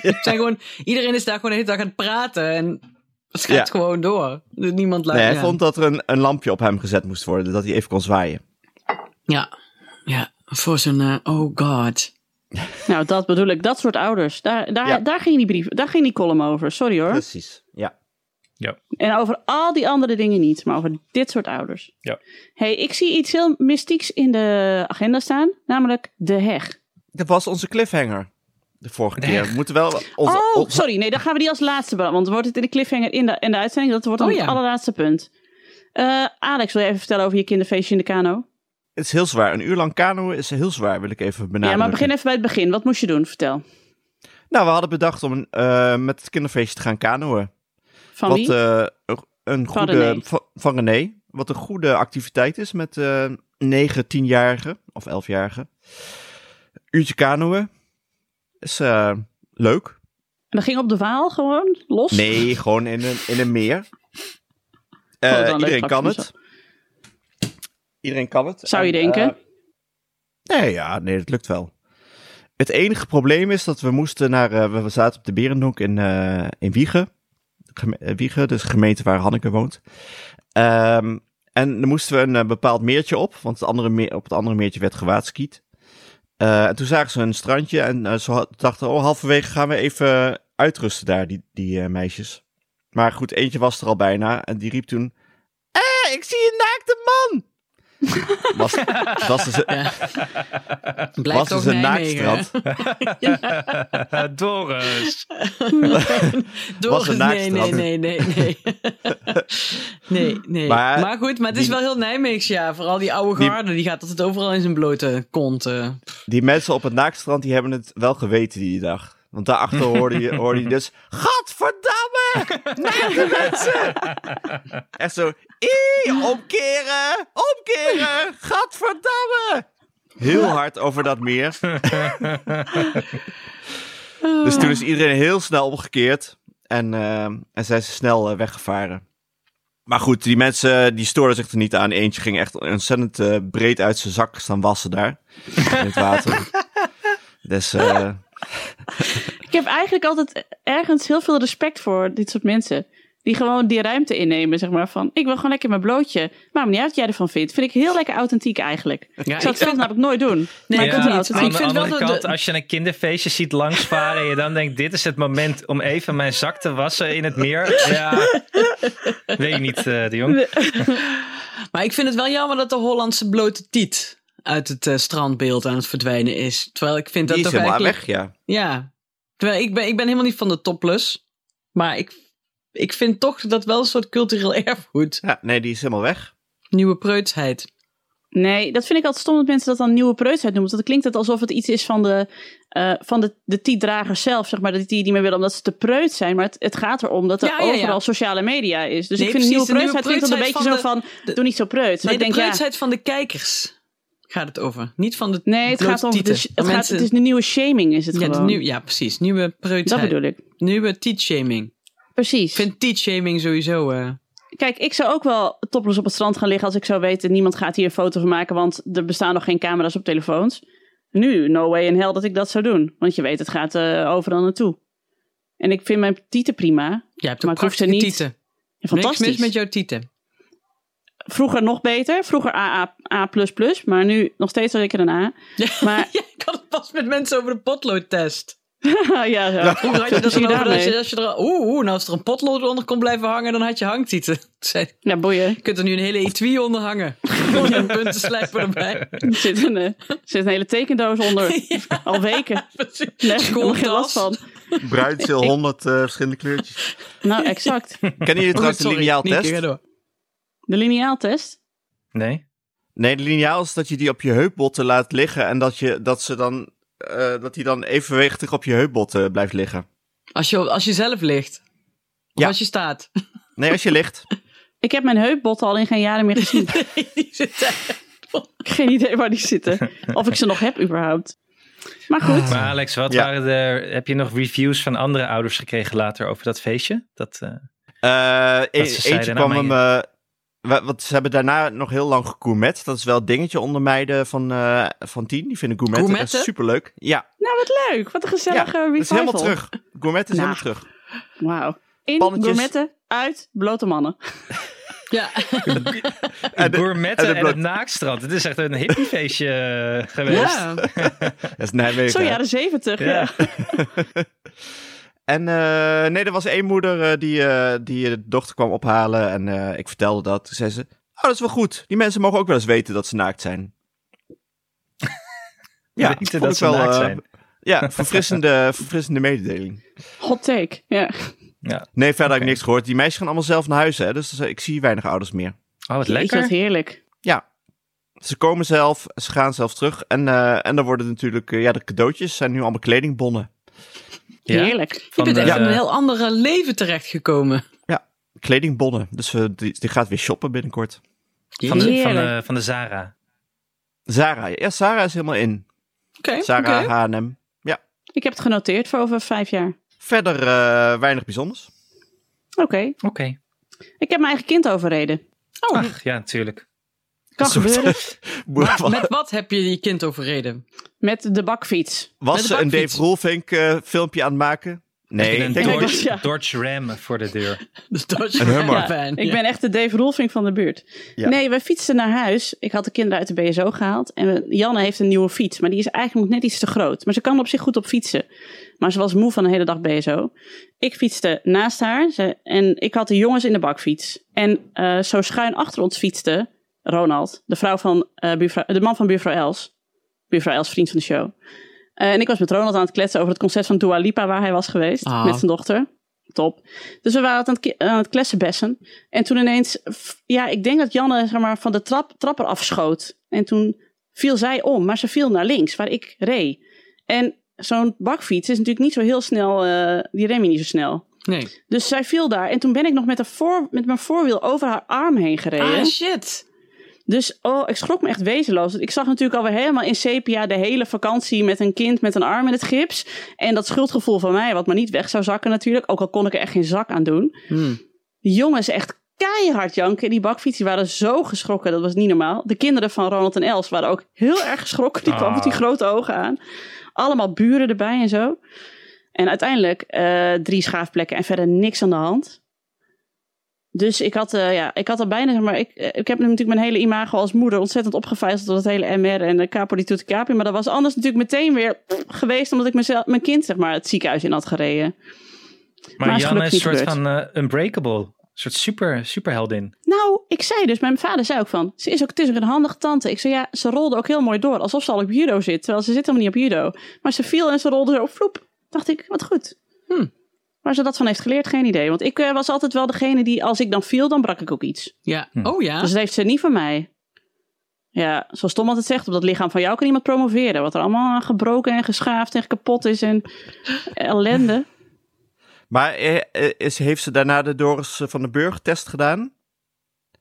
Het zijn gewoon, iedereen is daar gewoon de hele dag aan het praten en het gaat
Ja.
gewoon door. Dus Niemand
Nou,
Nee,
luistert.
hij vond dat er een, een lampje op hem gezet moest worden, dat hij even kon zwaaien.
ja. ja, voor zo'n eh, oh god.
Nou, dat bedoel ik. Dat soort ouders. Daar, daar,
Ja.
daar ging die brief, daar ging die column over. Sorry hoor.
Precies, ja.
En over al die andere dingen niet, maar over dit soort ouders.
Ja.
hey, ik zie iets heel mystieks in de agenda staan, namelijk de heg.
Dat was onze cliffhanger. de vorige keer. We moeten wel onze,
oh,
onze-
sorry. Nee, dan gaan we die als laatste behandelen. Want dan wordt het in de cliffhanger in de, in de uitzending. Dat wordt dan
Oh, ja.
het allerlaatste punt. Eh, Alex, wil je even vertellen over je kinderfeestje in de kano?
Het is heel zwaar. Een uur lang kanoën is heel zwaar, wil ik even benadrukken.
ja, maar begin even bij het begin. Wat moest je doen? Vertel.
Nou, we hadden bedacht om eh, met het kinderfeestje te gaan kanoën.
Van
wat
wie?
eh, een
Van
goede
René.
va- van René. Wat een goede activiteit is met eh 9, 10-jarigen of 11-jarigen. Uurtje kanoën. Is eh, leuk.
En dat ging op de Waal gewoon? Los?
Nee, gewoon in een, in een meer. Eh,
dan Oh, leuk
iedereen kan
platform
het. Iedereen kan het.
Zou je
En,
denken?
eh, nee, ja, nee, dat lukt wel. Het enige probleem is dat we moesten naar... eh, we zaten op de Berendonk in, eh, in Wiegen. Geme- eh, Wiegen, dus de gemeente waar Hanneke woont. Ehm, en dan moesten we een eh, bepaald meertje op. Want het andere meer, op het andere meertje werd gewaadskiet. Eh, en toen zagen ze een strandje. En eh, ze had- dachten, oh, halverwege gaan we even uitrusten daar, die, die eh, meisjes. Maar goed, eentje was er al bijna. En die riep toen... Eh, ik zie een naakte man! was, was dus,
Ja.
was
Blijft
dus
ook
een
Nijmegen.
naaktstrand.
Doris.
Door-
Was een
nee, nee,
naaktstrand.
nee, nee, nee. nee, nee.
Maar-
Maar, goed, maar het is
die-
wel heel Nijmeegs, ja. Vooral die oude
Die-
garde, die, gaat altijd overal in zijn blote kont. eh.
Die mensen op het naaktstrand, die hebben het wel geweten die dag. Want daarachter hoorde je, hoorde je dus... Gadverdamme! Naakte mensen! Echt zo... "Ie, omkeren! Omkeren! Gadverdamme! Heel hard over dat meer. dus toen is iedereen heel snel omgekeerd. En, eh, en zijn ze snel eh, weggevaren. Maar goed, die mensen die stoorden zich er niet aan. Eentje ging echt ontzettend eh, breed uit zijn zak staan wassen daar. In het water. dus eh,
Ik heb eigenlijk altijd ergens heel veel respect voor dit soort mensen. Die gewoon die ruimte innemen, zeg maar. Van, ik wil gewoon lekker in mijn blootje. Maar me niet uit wat jij ervan vindt. Vind ik heel lekker authentiek eigenlijk. ik zou
ik
het zelf namelijk nooit doen.
Nee,
maar ik
ja.
vind het wel
niet.
aan
authentiek.
Maar ik
de
vind wel
andere
dat de-
kant, als je een kinderfeestje ziet langsvaren en je dan denkt, dit is het moment om even mijn zak te wassen in het meer. Ja, weet ik niet, eh de jong.
Maar ik vind het wel jammer dat de Hollandse blote tiet uit het eh, strandbeeld aan het verdwijnen is. Terwijl ik vind
die
dat
is
toch
helemaal
eigenlijk...
weg, ja.
Ja. Terwijl ik ben, ik ben helemaal niet van de topless. Maar ik, ik vind toch dat wel een soort cultureel erfgoed.
ja. Nee, die is helemaal weg.
Nieuwe preutsheid.
Nee, dat vind ik altijd stom dat mensen dat dan nieuwe preutsheid noemen. Want dan klinkt het alsof het iets is van de, eh van de, de tietdragers zelf, zeg maar. Dat die het niet meer willen omdat ze te preut zijn. Maar het, het gaat erom dat er
Ja, ja, ja.
overal sociale media is. Dus
Nee,
ik vind nieuwe
precies, de nieuwe
preutsheid klinkt dan een beetje zo
preutsheid
van,
de-
doe niet zo preut. Maar
Nee,
ik
de
denk, ja,
preutsheid van de kijkers gaat het over. Niet van de
nee, het
blote
gaat om, het
tieten.
is, het, gaat,
Mensen-
het is de nieuwe shaming is het
ja, de
gewoon.
nieuw- ja, precies. Nieuwe
dat
preutsheid.
bedoel ik.
Nieuwe teetshaming.
Precies.
Ik vind teetshaming sowieso... eh,
Kijk, ik zou ook wel topless op het strand gaan liggen als ik zou weten... niemand gaat hier een foto van maken, want er bestaan nog geen camera's op telefoons. Nu, no way in hell dat ik dat zou doen. Want je weet, het gaat eh, overal naartoe. En ik vind mijn tieten prima.
jij hebt
Maar
ook
ik hoef ze
prachtige
niet-
tieten.
Ja,
Niks mis
Fantastisch.
met jouw tieten.
Vroeger nog beter. Vroeger AA, A++, maar nu nog steeds zeker een A. Maar
Ja, ik had het pas met mensen over de potloodtest.
ah, ja, zo.
Vroeger had je dat
Zie je
dan over dat
daarmee?
je, als je er... Oeh, oeh, nou als er een potlood onder kon blijven hangen, dan had je hangtieten. Ik zei,
ja, boeien.
Je kunt er nu een hele etui onder hangen. Met een puntenslijper erbij.
Er zit een, eh, er zit een hele tekendoos onder. Al weken.
Precies.
Nee, ik heb er geen last
Schooltas.
van.
Bruin, zil, 100 eh, verschillende kleurtjes.
Nou, exact.
Kennen jullie
Oh,
trouwens de
sorry, Nienke, ga
lineaaltest?
door.
De lineaaltest.
Nee?
Nee, de lineaal is dat je die op je heupbotten laat liggen. En dat, je, dat, ze dan, eh, dat die dan evenwichtig op je heupbotten eh, blijft liggen.
Als je, als je zelf ligt. Of
Ja.
als je staat.
Nee, als je ligt.
Ik heb mijn heupbot al in geen jaren meer gezien.
Die zit daar.
Geen idee waar die zitten. Of ik ze nog heb überhaupt. Maar goed.
Maar Alex, wat
Ja.
waren er, heb je nog reviews van andere ouders gekregen later over dat feestje? Dat, eh,
Eh, e-
ze
eentje
zeiden,
kwam
nou,
hem. eh, wa- want ze hebben daarna nog heel lang gegourmet. Dat is wel het dingetje onder meiden van, eh, van tien. Die vinden gourmetten,
Gourmetten?
echt superleuk. Ja,
Nou, wat leuk. Wat een
Ah. ja.
gezellige revival.
dat is helemaal terug. Gourmet is
Nou.
helemaal terug.
Wauw. In
Pannetjes.
gourmetten, uit, blote mannen.
Ja.
En de-
gourmetten
en
en,
de blok-
het naakstrand. Het is echt een hippiefeestje eh, geweest.
ja.
Dat is Nijmegen.
Zo jaren zeventig. Ja.
Ja.
En eh, nee, er was één moeder eh, die, eh, die de dochter kwam ophalen. En eh, ik vertelde dat. Toen zei ze: Oh, dat is wel goed. Die mensen mogen ook wel eens weten dat ze naakt zijn.
Weten dat
vond ik
ze naakt
eh,
zijn.
Ja, verfrissende, verfrissende mededeling.
Hot take. Ja.
Ja.
Nee, verder heb
Oké.
ik niks gehoord. Die meisjes gaan allemaal zelf naar huis, hè. Dus eh, ik zie weinig ouders meer.
Oh, wat
Jeetje,
lekker.
wat heerlijk.
Ja. Ze komen zelf, ze gaan zelf terug. En, eh, en dan worden natuurlijk, eh, ja, de cadeautjes zijn nu allemaal kledingbonnen.
Ja.
Heerlijk.
Je
Van,
bent echt
eh,
in een heel andere leven terechtgekomen.
Kledingbonnen. Dus eh, die, die gaat weer shoppen binnenkort.
van, de, van,
Heerlijk.
de, van de Zara.
Zara. Ja, Zara is helemaal in.
Oké,
Zara
oké.
H&M.
Ik heb het genoteerd voor over vijf jaar.
Verder eh, weinig bijzonders.
Oké.
Oké.
Ik heb mijn eigen kind overreden.
Ach, ja, natuurlijk.
Kan
Een soort-
gebeuren.
Maar Met wat heb je je kind overreden?
Met de bakfiets.
Was
met de
ze een
bakfiets.
Dave Roelvink eh, filmpje aan het maken? Nee,
Met
ik
een
denk
Dave-
dat-
Dodge,
Ja.
Dodge Ram voor de deur.
Dus dat is
Een hummer.
een fan.
Ik ben echt de Dave Rolfing van de buurt.
Ja.
Nee, we fietsten naar huis. Ik had de kinderen uit de BSO gehaald. En we- Janne heeft een nieuwe fiets. Maar die is eigenlijk nog net iets te groot. Maar ze kan op zich goed op fietsen. Maar ze was moe van een hele dag BSO. Ik fietste naast haar. Ze, en ik had de jongens in de bakfiets. En eh, zo schuin achter ons fietste Ronald. De, vrouw van, eh, buurvrouw- de man van buurvrouw Els. Buurvrouw Els, vriend van de show. Eh, en ik was met Ronald aan het kletsen over het concert van Dua Lipa waar hij was geweest.
Ah.
Met zijn dochter. Top. Dus we waren het aan het, ki- aan het klessenbessen. En toen ineens, f- ja, ik denk dat Janne zeg maar, van de trap, trapper afschoot. En toen viel zij om, maar ze viel naar links, waar ik reed. En zo'n bakfiets is natuurlijk niet zo heel snel, eh, die rem je niet zo snel.
Nee.
Dus zij viel daar. En toen ben ik nog met, de voor, met mijn voorwiel over haar arm heen gereden.
Ah, shit.
Dus oh, ik schrok me echt wezenloos. Ik zag natuurlijk alweer helemaal in sepia de hele vakantie met een kind met een arm in het gips. En dat schuldgevoel van mij, wat maar niet weg zou zakken natuurlijk. Ook al kon ik er echt geen zak aan doen.
Hm.
Die jongens echt keihard janken. Die bakfiets die waren zo geschrokken, dat was niet normaal. De kinderen van Ronald en Els waren ook heel erg geschrokken. Die kwamen
Ah.
met die grote ogen aan. Allemaal buren erbij en zo. En uiteindelijk eh, drie schaafplekken en verder niks aan de hand. Dus ik had, eh, ja, ik had al bijna, zeg maar, ik, eh, ik heb natuurlijk mijn hele imago als moeder ontzettend opgevijzeld door dat hele MR en de capo di tutti capi. Maar dat was anders natuurlijk meteen weer pff, geweest omdat ik mezelf, mijn kind zeg maar, het ziekenhuis in had gereden.
Maar,
Maar is
Janne
gelukkig
is een
niet
soort
gebeurd.
van eh, unbreakable. Een soort super, superheldin.
Nou, ik zei dus, mijn vader zei ook van, ze is ook, het is ook een handige tante. Ik zei, ja, ze rolde ook heel mooi door, alsof ze al op judo zit, terwijl ze zit helemaal niet op judo. Maar ze viel en ze rolde zo, vloep. Dacht ik, wat goed.
Hmm.
Waar ze dat van heeft geleerd, geen idee. Want ik eh, was altijd wel degene die, als ik dan viel, dan brak ik ook iets.
Ja.
Hm.
Oh ja.
Dus dat heeft ze niet van mij. Ja, zoals Tom altijd zegt, op dat lichaam van jou kan iemand promoveren. Wat er allemaal aan gebroken en geschaafd en kapot is en ellende.
Maar eh, eh, is, heeft ze daarna de Doris eh, van den Burg test gedaan?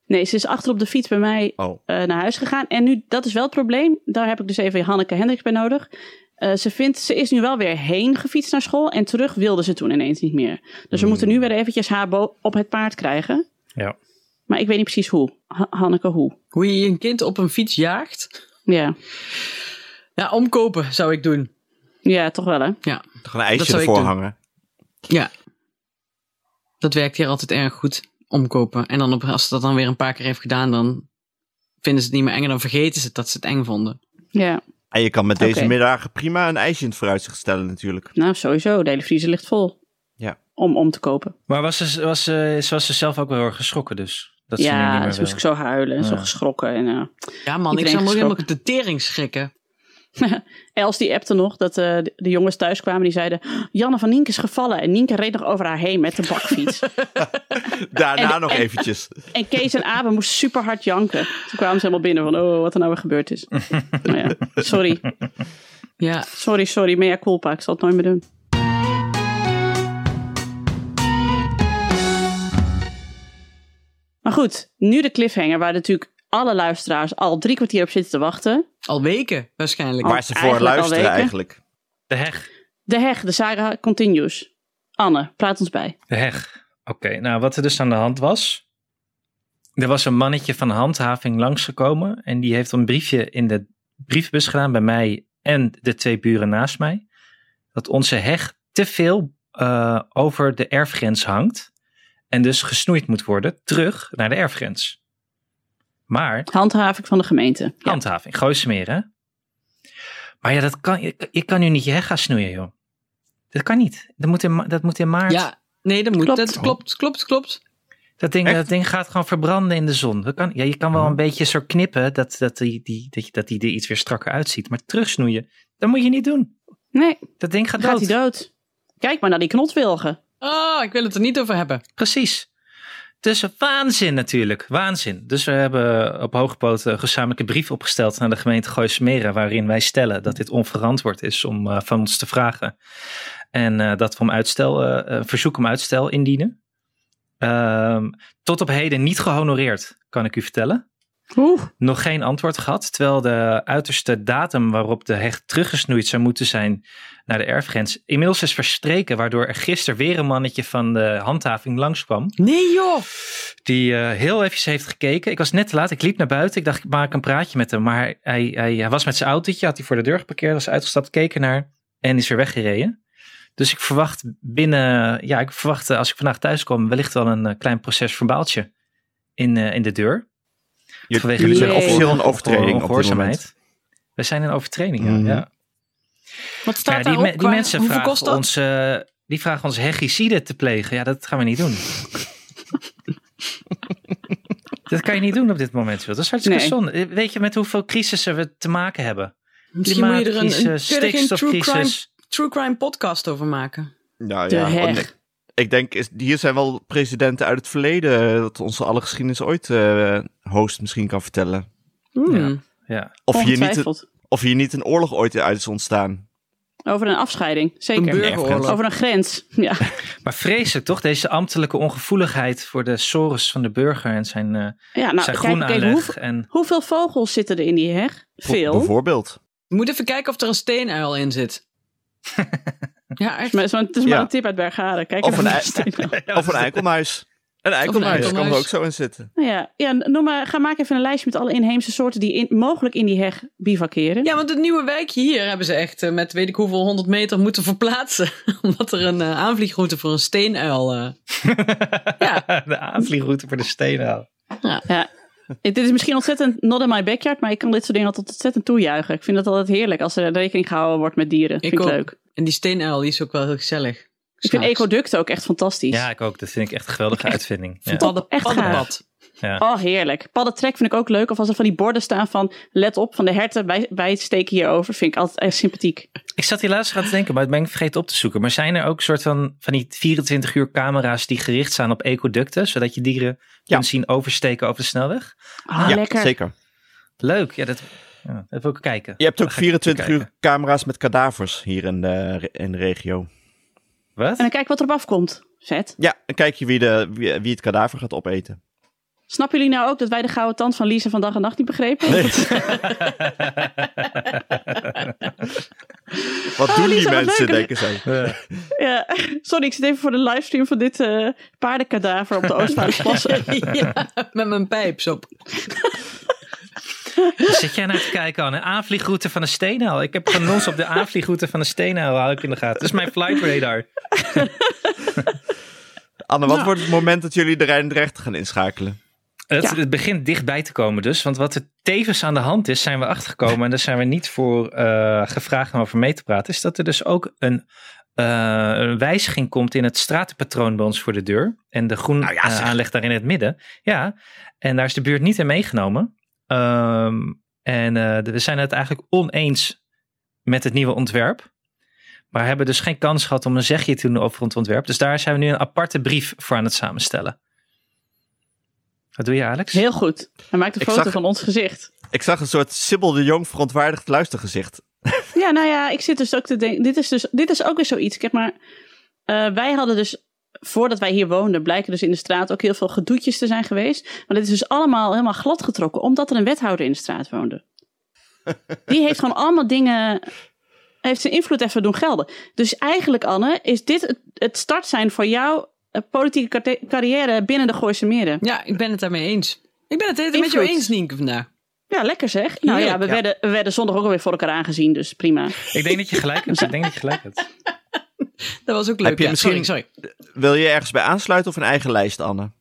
Nee, ze is achter op de fiets bij mij
Oh.
eh, naar huis gegaan. En nu, dat is wel het probleem. Daar heb ik dus even Hanneke Hendricks bij nodig. Eh, ze, vindt, ze is nu wel weer heen gefietst naar school. En terug wilde ze toen ineens niet meer. Dus
Hmm.
we moeten nu weer eventjes haar bo- op het paard krijgen.
Ja.
Maar ik weet niet precies hoe. Ha- Hanneke, hoe?
Hoe je een kind op een fiets jaagt.
Ja.
Ja, omkopen zou ik doen.
ja, toch wel hè?
Ja.
Er gaat een
Dat
ijsje
zou ik
ervoor
doen.
hangen.
Ja. Dat werkt hier altijd erg goed. Omkopen. En dan op, als ze dat dan weer een paar keer heeft gedaan, dan vinden ze het niet meer eng. En dan vergeten ze dat ze het eng vonden.
Ja.
En je kan met deze
Oké.
middag prima een ijsje in het vooruitzicht stellen natuurlijk.
Nou, sowieso. De hele vriezer ligt vol.
Ja.
Om om te kopen.
Maar was ze, was, ze, ze was ze zelf ook wel heel erg geschrokken dus? Dat ze nu
ja,
niet meer
dus moest
wil.
ik zo huilen en zo
Ja.
geschrokken. En, eh,
Ja man, ik
Iedereen
zou me ook helemaal
geschrokken.
de tering schrikken.
Els die appte nog dat eh, de- de jongens thuis kwamen. Die zeiden, Janne van Nienke is gevallen. En Nienke reed nog over haar heen met de bakfiets.
Daarna
En-
nog
en-
eventjes.
Oh,
En Kees en Abe moesten super hard janken. Toen kwamen ze helemaal binnen van, oh, wat er nou weer gebeurd is. nou ja, sorry,
Ja.
sorry, sorry, mea culpa. Ik zal het nooit meer doen. Maar goed, nu de cliffhanger waar natuurlijk alle luisteraars al drie kwartier op zitten te wachten.
Al weken waarschijnlijk.
Waar ze voor
eigenlijk al
luisteren
weken.
eigenlijk.
De heg.
De heg, de saga continues. Anne, praat ons bij.
De heg. Oké, nou wat er dus aan de hand was. Er was een mannetje van handhaving langsgekomen. En die heeft een briefje in de brievenbus gedaan bij mij en de twee buren naast mij. Dat onze heg te veel eh, over de erfgrens hangt. En dus gesnoeid moet worden terug naar de erfgrens. Maar
Handhaving van de gemeente.
Handhaving, gooi smeren. Maar ja, dat kan, je, je kan nu niet je heg gaan snoeien, joh. Dat kan niet. Dat moet in, ma- dat moet in maart.
Ja. Nee, dat moet.
Klopt.
Dat klopt, klopt, klopt.
dat, ding,
echt?
dat ding gaat gewoon verbranden in de zon. Dat kan, ja, je kan wel een beetje zo knippen dat, dat, die, die, dat, je- dat die er iets weer strakker uitziet. Maar terugsnoeien, dat moet je niet doen.
Nee,
Dat ding gaat
dan
dood.
gaat hij dood. Kijk maar naar die knotwilgen.
Oh, ik wil het er niet over hebben.
Precies. Dus waanzin natuurlijk, waanzin. Dus we hebben op hoge poten een gezamenlijke brief opgesteld naar de gemeente Gooismeren, waarin wij stellen dat dit onverantwoord is om eh, van ons te vragen. En eh, dat we om uitstel, eh, een verzoek om uitstel indienen. Ehm, tot op heden niet gehonoreerd, kan ik u vertellen
Oeh.
nog geen antwoord gehad. Terwijl de uiterste datum waarop de hecht teruggesnoeid zou moeten zijn naar de erfgrens inmiddels is verstreken. Waardoor er gisteren weer een mannetje van de handhaving langskwam.
Nee joh.
Die eh, heel eventjes heeft gekeken. Ik was net te laat. Ik liep naar buiten. Ik dacht, ik maak een praatje met hem. Maar hij, hij, hij was met zijn autootje. Had hij voor de deur geparkeerd. Was uitgestapt. Keek ernaar. En is weer weggereden. Dus ik verwacht binnen. Ja, ik verwacht eh, als ik vandaag thuis kom. Wellicht wel een eh, klein proces verbaaltje in, eh, in de deur.
Je-
Vanwege
Jullie zijn
jullie
officieel een
ongehoor-
overtreding op dit
ongehoorzaamheid.
moment.
We zijn in overtreding, ja.
Mhm.
ja.
Wat
Maar
staat
ja, die,
daarop?
me- die
qua-
mensen
hoeveel
vragen
kost dat?
ons... eh, die vragen ons hegicide te plegen. Ja, dat gaan we niet doen. dat kan je niet doen op dit moment, Wil. Dat is hartstikke
Nee.
zonde. Eh, Weet je met hoeveel crisissen we te maken hebben?
Misschien moet je er een, een,
Klimaatcrisis,
verder geen true crime,
stikstofcrisis.
true crime podcast over maken.
Nou
De
ja, want
heg.
ik, ik denk, is, hier zijn wel presidenten uit het verleden eh, dat onze alle geschiedenis ooit eh, host misschien kan vertellen.
Hmm.
Ja.
Of hier, niet,
Ongetwijfeld.
of hier niet een oorlog ooit uit is ontstaan.
Over een afscheiding,
Een
zeker.
burgeroorlog.
Over een grens, ja.
Maar vreselijk toch, deze ambtelijke ongevoeligheid voor de sores van de burger en zijn, eh
ja nou,
zijn
kijk, kijk,
groenaanleg.
hoeveel-
en,
hoeveel vogels zitten er in die heg? Veel.
Bijvoorbeeld.
Je moet even kijken of er een steenuil in zit. ja, echt.
Maar het is maar- het is maar
Ja.
een tip uit Bergharen. Kijk
Of
even
een
naar
ei-
de stenen.
Of een eikelmuis. Een eikelmuis kan er
eikelmuis.
ook zo in zitten.
Nou ja, ja, noem maar, ga maak even een lijstje met alle inheemse soorten die in, mogelijk in die heg bivakeren.
Ja, want het nieuwe wijkje hier hebben ze echt eh, met weet ik hoeveel honderd meter moeten verplaatsen. Omdat er een eh, aanvliegroute voor een steenuil... eh,
de aanvliegroute voor de steenhoud.
Ja. Dit is misschien ontzettend not in my backyard, maar ik kan dit soort dingen altijd ontzettend toejuichen. Ik vind het altijd heerlijk als er rekening gehouden wordt met dieren.
Ik
vind ik
ook.
leuk.
En die steenuil die is ook wel heel gezellig.
Ik vind ecoducten ook echt fantastisch.
Ja, ik ook. Dat vind ik echt een geweldige uitvinding. Ja.
Padden,
echt
paddenpad.
Oh, heerlijk. Paddentrek vind ik ook leuk. Of als er van die borden staan van, let op, van de herten, wij, wij steken hierover. Vind ik altijd echt sympathiek.
Ik zat hier laatst aan te denken, maar het ben ik vergeten op te zoeken. Maar zijn er ook soort van, van die 24 uur camera's die gericht staan op ecoducten, zodat je dieren kunt zien oversteken over de snelweg?
Ah,
ja,
lekker.
zeker.
Leuk, ja, dat, ja, dat wil ik kijken.
Je hebt ook
Dan ga ik
24
even
uur camera's met kadavers hier in de, re- in de regio.
Wat?
En dan kijk wat erop afkomt. Vet.
Ja, dan kijk je wie, de, wie, wie het kadaver gaat opeten.
Snappen jullie nou ook dat wij de gouden tand van Lisa van dag en nacht niet begrepen?
Wat doen
Lisa,
die
wat
mensen,
leuk.
denken zij.
Ja. Sorry, ik zit even voor de livestream van dit eh paardenkadaver op de Oostvaardersplassen.
ja, met mijn pijp zo.
Zit jij naar te kijken aan een aanvliegroute van een steenhaal? Ik heb van ons op de aanvliegroute van een steenhaal hou ik in de gaten. Dat is mijn flight radar.
Anne, wat wordt het moment dat jullie de Rijndrecht gaan inschakelen?
Het,
Ja.
het begint dichtbij te komen dus, want wat er tevens aan de hand is, zijn we achtergekomen en daar zijn we niet voor eh, gevraagd om over mee te praten, is dat er dus ook een, eh, een wijziging komt in het stratenpatroon bij ons voor de deur. En de groen
Nou ja,
eh,
zeg.
aanleg daar in het midden. Ja, en daar is de buurt niet in meegenomen. Ehm, en eh, we zijn het eigenlijk oneens met het nieuwe ontwerp. Maar hebben dus geen kans gehad om een zegje te doen over het ontwerp. Dus daar zijn we nu een aparte brief voor aan het samenstellen. Wat doe je, Alex?
Heel goed. Hij maakt een
Ik
foto
zag-
van ons gezicht.
Ik zag een soort Sibyl de Jong verontwaardigd luistergezicht.
Ja, nou ja, ik zit dus ook te denken. Dit is, dus, dit is ook weer zoiets. Ik heb maar. eh, wij hadden dus. Voordat wij hier woonden, blijken dus in de straat ook heel veel gedoetjes te zijn geweest. Maar dit is dus allemaal helemaal gladgetrokken, omdat er een wethouder in de straat woonde. Die heeft gewoon allemaal dingen. Heeft zijn invloed even doen gelden. Dus eigenlijk, Anne, is dit het, het start zijn voor jouw eh, politieke karte- carrière binnen de Gooise Meren?
Ja, ik ben het daarmee eens. Ik ben het de hele tijd met jou
Invloed.
eens, Nienke, vandaag.
Ja, lekker zeg. Nou ja,
Heerlijk,
we,
ja.
Werden, we werden zondag ook alweer voor elkaar aangezien, dus prima.
Ik denk dat je gelijk hebt. Ik denk dat je gelijk hebt.
Dat was ook leuk.
Heb je
ja.
misschien-
Sorry, sorry.
Wil je ergens bij aansluiten of een eigen lijst, Anne?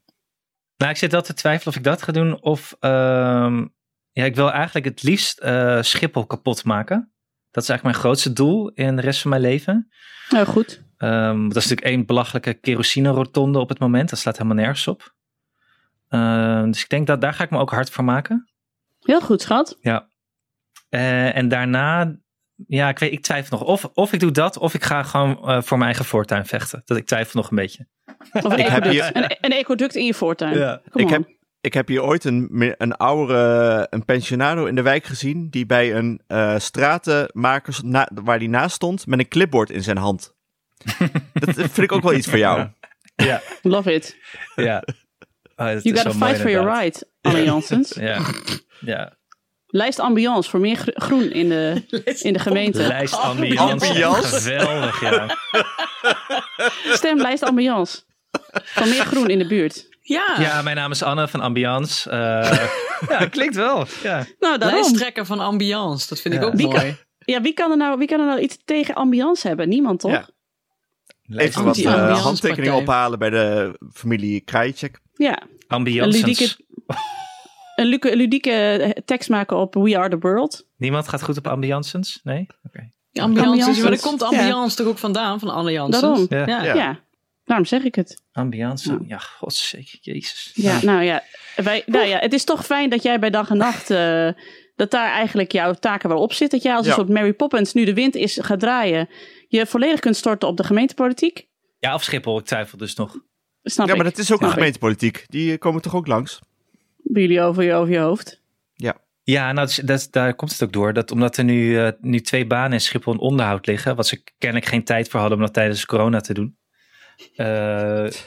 Nou, ik zit wel te twijfelen of ik dat ga doen. Of ehm, ja, ik wil eigenlijk het liefst eh, Schiphol kapot maken. Dat is eigenlijk mijn grootste doel in de rest van mijn leven.
Nou goed.
Ehm, dat is natuurlijk één belachelijke kerosine-rotonde op het moment. Dat slaat helemaal nergens op. Ehm, dus ik denk dat daar ga ik me ook hard voor maken.
Heel goed, schat.
Eh, en daarna ja, ik, weet, ik twijfel nog. Of, of ik doe dat, of ik ga gewoon eh, voor mijn eigen voortuin vechten. Dat ik twijfel nog een beetje.
Of een,
Ik heb
ecoduct.
hier-
Een, een ecoduct in je voortuin.
Ja.
Kom
Ik
op.
heb, ik heb hier ooit een, me- een oude een pensionado in de wijk gezien. die bij een eh stratenmaker na- waar die naast stond. met een clipboard in zijn hand. dat vind ik ook wel iets voor jou.
Ja. Ja,
Love it.
ja. Oh, dat is
You gotta
wel mooi
fight for your
inderdaad.
right, Anne Janssens.
Ja, ja.
Lijst ambiance voor meer gro- groen in de, in de gemeente.
Lijst ambiance.
Ambiance.
Geweldig, ja.
Stem lijst ambiance. Van meer groen in de buurt.
Ja,
Ja, mijn naam is Anne van Ambiance. Eh, ja, klinkt wel. Ja.
Nou, daarom.
lijsttrekker van ambiance. Dat vind ik
Ja.
ook
Wie kan-
mooi.
Ja, wie kan, er nou, wie kan er nou iets tegen ambiance hebben? Niemand, toch?
Ja.
Ja.
Even wat eh,
Anti-ambiance
handtekeningen
partij.
ophalen bij de familie Krajicek.
Een,
Ambiance.
ludieke, een luke- ludieke tekst maken op We Are The World.
Niemand gaat goed op ambiances? Nee? Oké.
Die Ambiance,
Ambiance.
maar daar komt
Ja.
ambiance toch ook vandaan, van Anne Janssens?
Daarom.
Ja.
Ja.
Ja. daarom zeg ik het.
Ambiance.
Ja.
Ja, godzeker. Jezus.
Ja, nou ja. Wij, nou ja, het is toch fijn dat jij bij dag en nacht... eh, dat daar eigenlijk jouw taken wel op zit. Dat jij als een
Ja.
soort Mary Poppins nu de wind is gaat draaien... je volledig kunt storten op de gemeentepolitiek.
Ja, of Schiphol. Ik twijfel dus nog.
Snap
Ja,
ik.
maar dat is ook
Snap
een
ik.
gemeentepolitiek. Die eh, komen toch ook langs?
Bij jullie over je, over je hoofd.
Ja, nou, dus dat, daar komt het ook door. Dat omdat er nu, eh, nu twee banen in Schiphol in onderhoud liggen, wat ze kennelijk geen tijd voor hadden om dat tijdens corona te doen. Eh,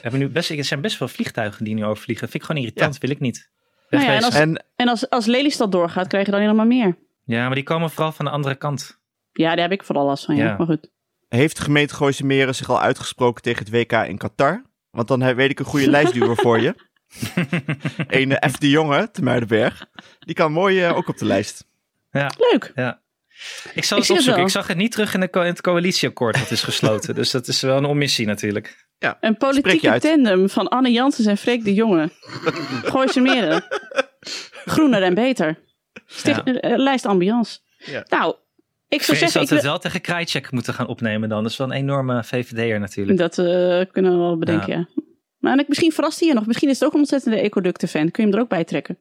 hebben nu best, er zijn best wel vliegtuigen die nu overvliegen. Vind ik gewoon irritant, wil ik niet.
Nou ja, en
Wegwezen.
als-
En
En als, als Lelystad doorgaat, krijg je dan helemaal meer.
Ja, maar die komen vooral van de andere kant.
Ja, daar heb ik vooral last van. Ja.
Ja.
Maar goed.
heeft de gemeente Gooise Meren zich al uitgesproken tegen het WK in Qatar? Want dan he- weet ik een goede lijstduwer voor je. Een eh, F. de Jonge, te Muidenberg. Die kan mooi eh, ook op de lijst.
Leuk.
Ik zal
Ik
het
zie het
opzoeken.
wel.
Ik zag het niet terug in, de co- in het coalitieakkoord dat is gesloten. dus dat is wel een omissie natuurlijk.
Een
Spreek je
politieke
uit.
tandem van Anne Janssens en Freek de Jonge. Gooi ze meren. Groener en beter. Sticht, eh, lijst ambiance.
Ja.
Nou, ik
Ik
zou
vrees dat
zeggen... Ik
we het
wil-
wel tegen Krajcek moeten gaan opnemen dan. Dat is wel een enorme VVD'er natuurlijk.
dat eh, kunnen we wel bedenken, ja. Maar en ik, misschien verrast hij je nog. Misschien is het ook een ontzettende ecoducten-fan. Kun je hem er ook bij trekken?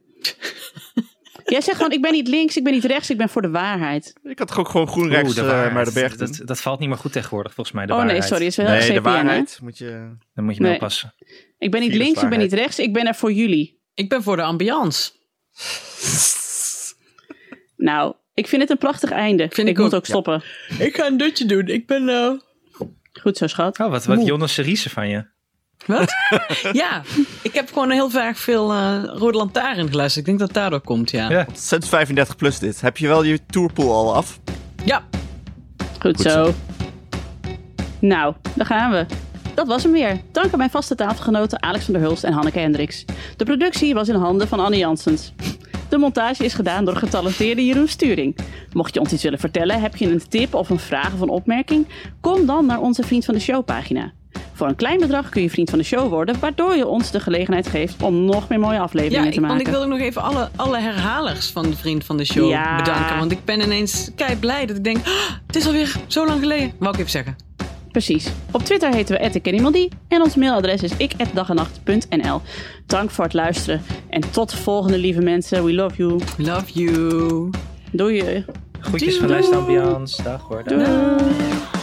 Jij zegt gewoon, ik ben niet links, ik ben niet rechts, ik ben voor de waarheid.
Ik had toch ook gewoon
Oeh, de
groen-rechts eh,
waarheid.
Muidenberg doen?
dat, dat valt niet meer goed tegenwoordig volgens mij. De
oh nee,
waarheid.
sorry, is wel heel
Nee, de
CPN, hè?
waarheid moet je...
Dan moet je nou mee
Nee.
oppassen.
Ik ben niet
Virus
links, ik ben
waarheid.
niet rechts, ik ben er voor jullie.
Ik ben voor de ambiance.
Nou, ik vind het een prachtig einde.
Vind ik
moet
ook,
ook,
ja.
stoppen.
Ik ga een dutje doen. Ik ben... eh,
Goed zo, schat.
Oh, wat, wat Jonas Seriese van je.
Wat? ja, ik heb gewoon heel vaak veel eh Rode Lantaarn geluisterd. Ik denk dat het daardoor komt, ja.
Ja.
Sinds 35 plus dit. Heb je wel je tourpool al af?
ja.
Goed,
Goed
zo. Nou, daar gaan we. Dat was hem weer. Dank aan mijn vaste tafelgenoten Alex van der Hulst en Hanneke Hendricks. De productie was in handen van Anne Janssens. De montage is gedaan door getalenteerde Jeroen Sturing. Mocht je ons iets willen vertellen, heb je een tip of een vraag of een opmerking? Kom dan naar onze Vriend van de Show pagina. Voor een klein bedrag kun je Vriend van de Show worden, waardoor je ons de gelegenheid geeft om nog meer mooie
Ja,
afleveringen
ik,
te
want ik
maken.
wil ook nog even alle, alle herhalers van de Vriend van de Show
Ja.
bedanken. Want ik ben ineens kei blij dat ik denk, "Ah, het is alweer zo lang geleden. Wou ik even zeggen.
Precies. Op Twitter heten we @ikkenniemandie en ons mailadres is ik@dagenacht.nl. Dank voor het luisteren en tot de volgende lieve mensen. We love you.
Love you.
Doei.
Groetjes van Lijst Ambiance. Dag hoor. Dag.
Doei.
Doei.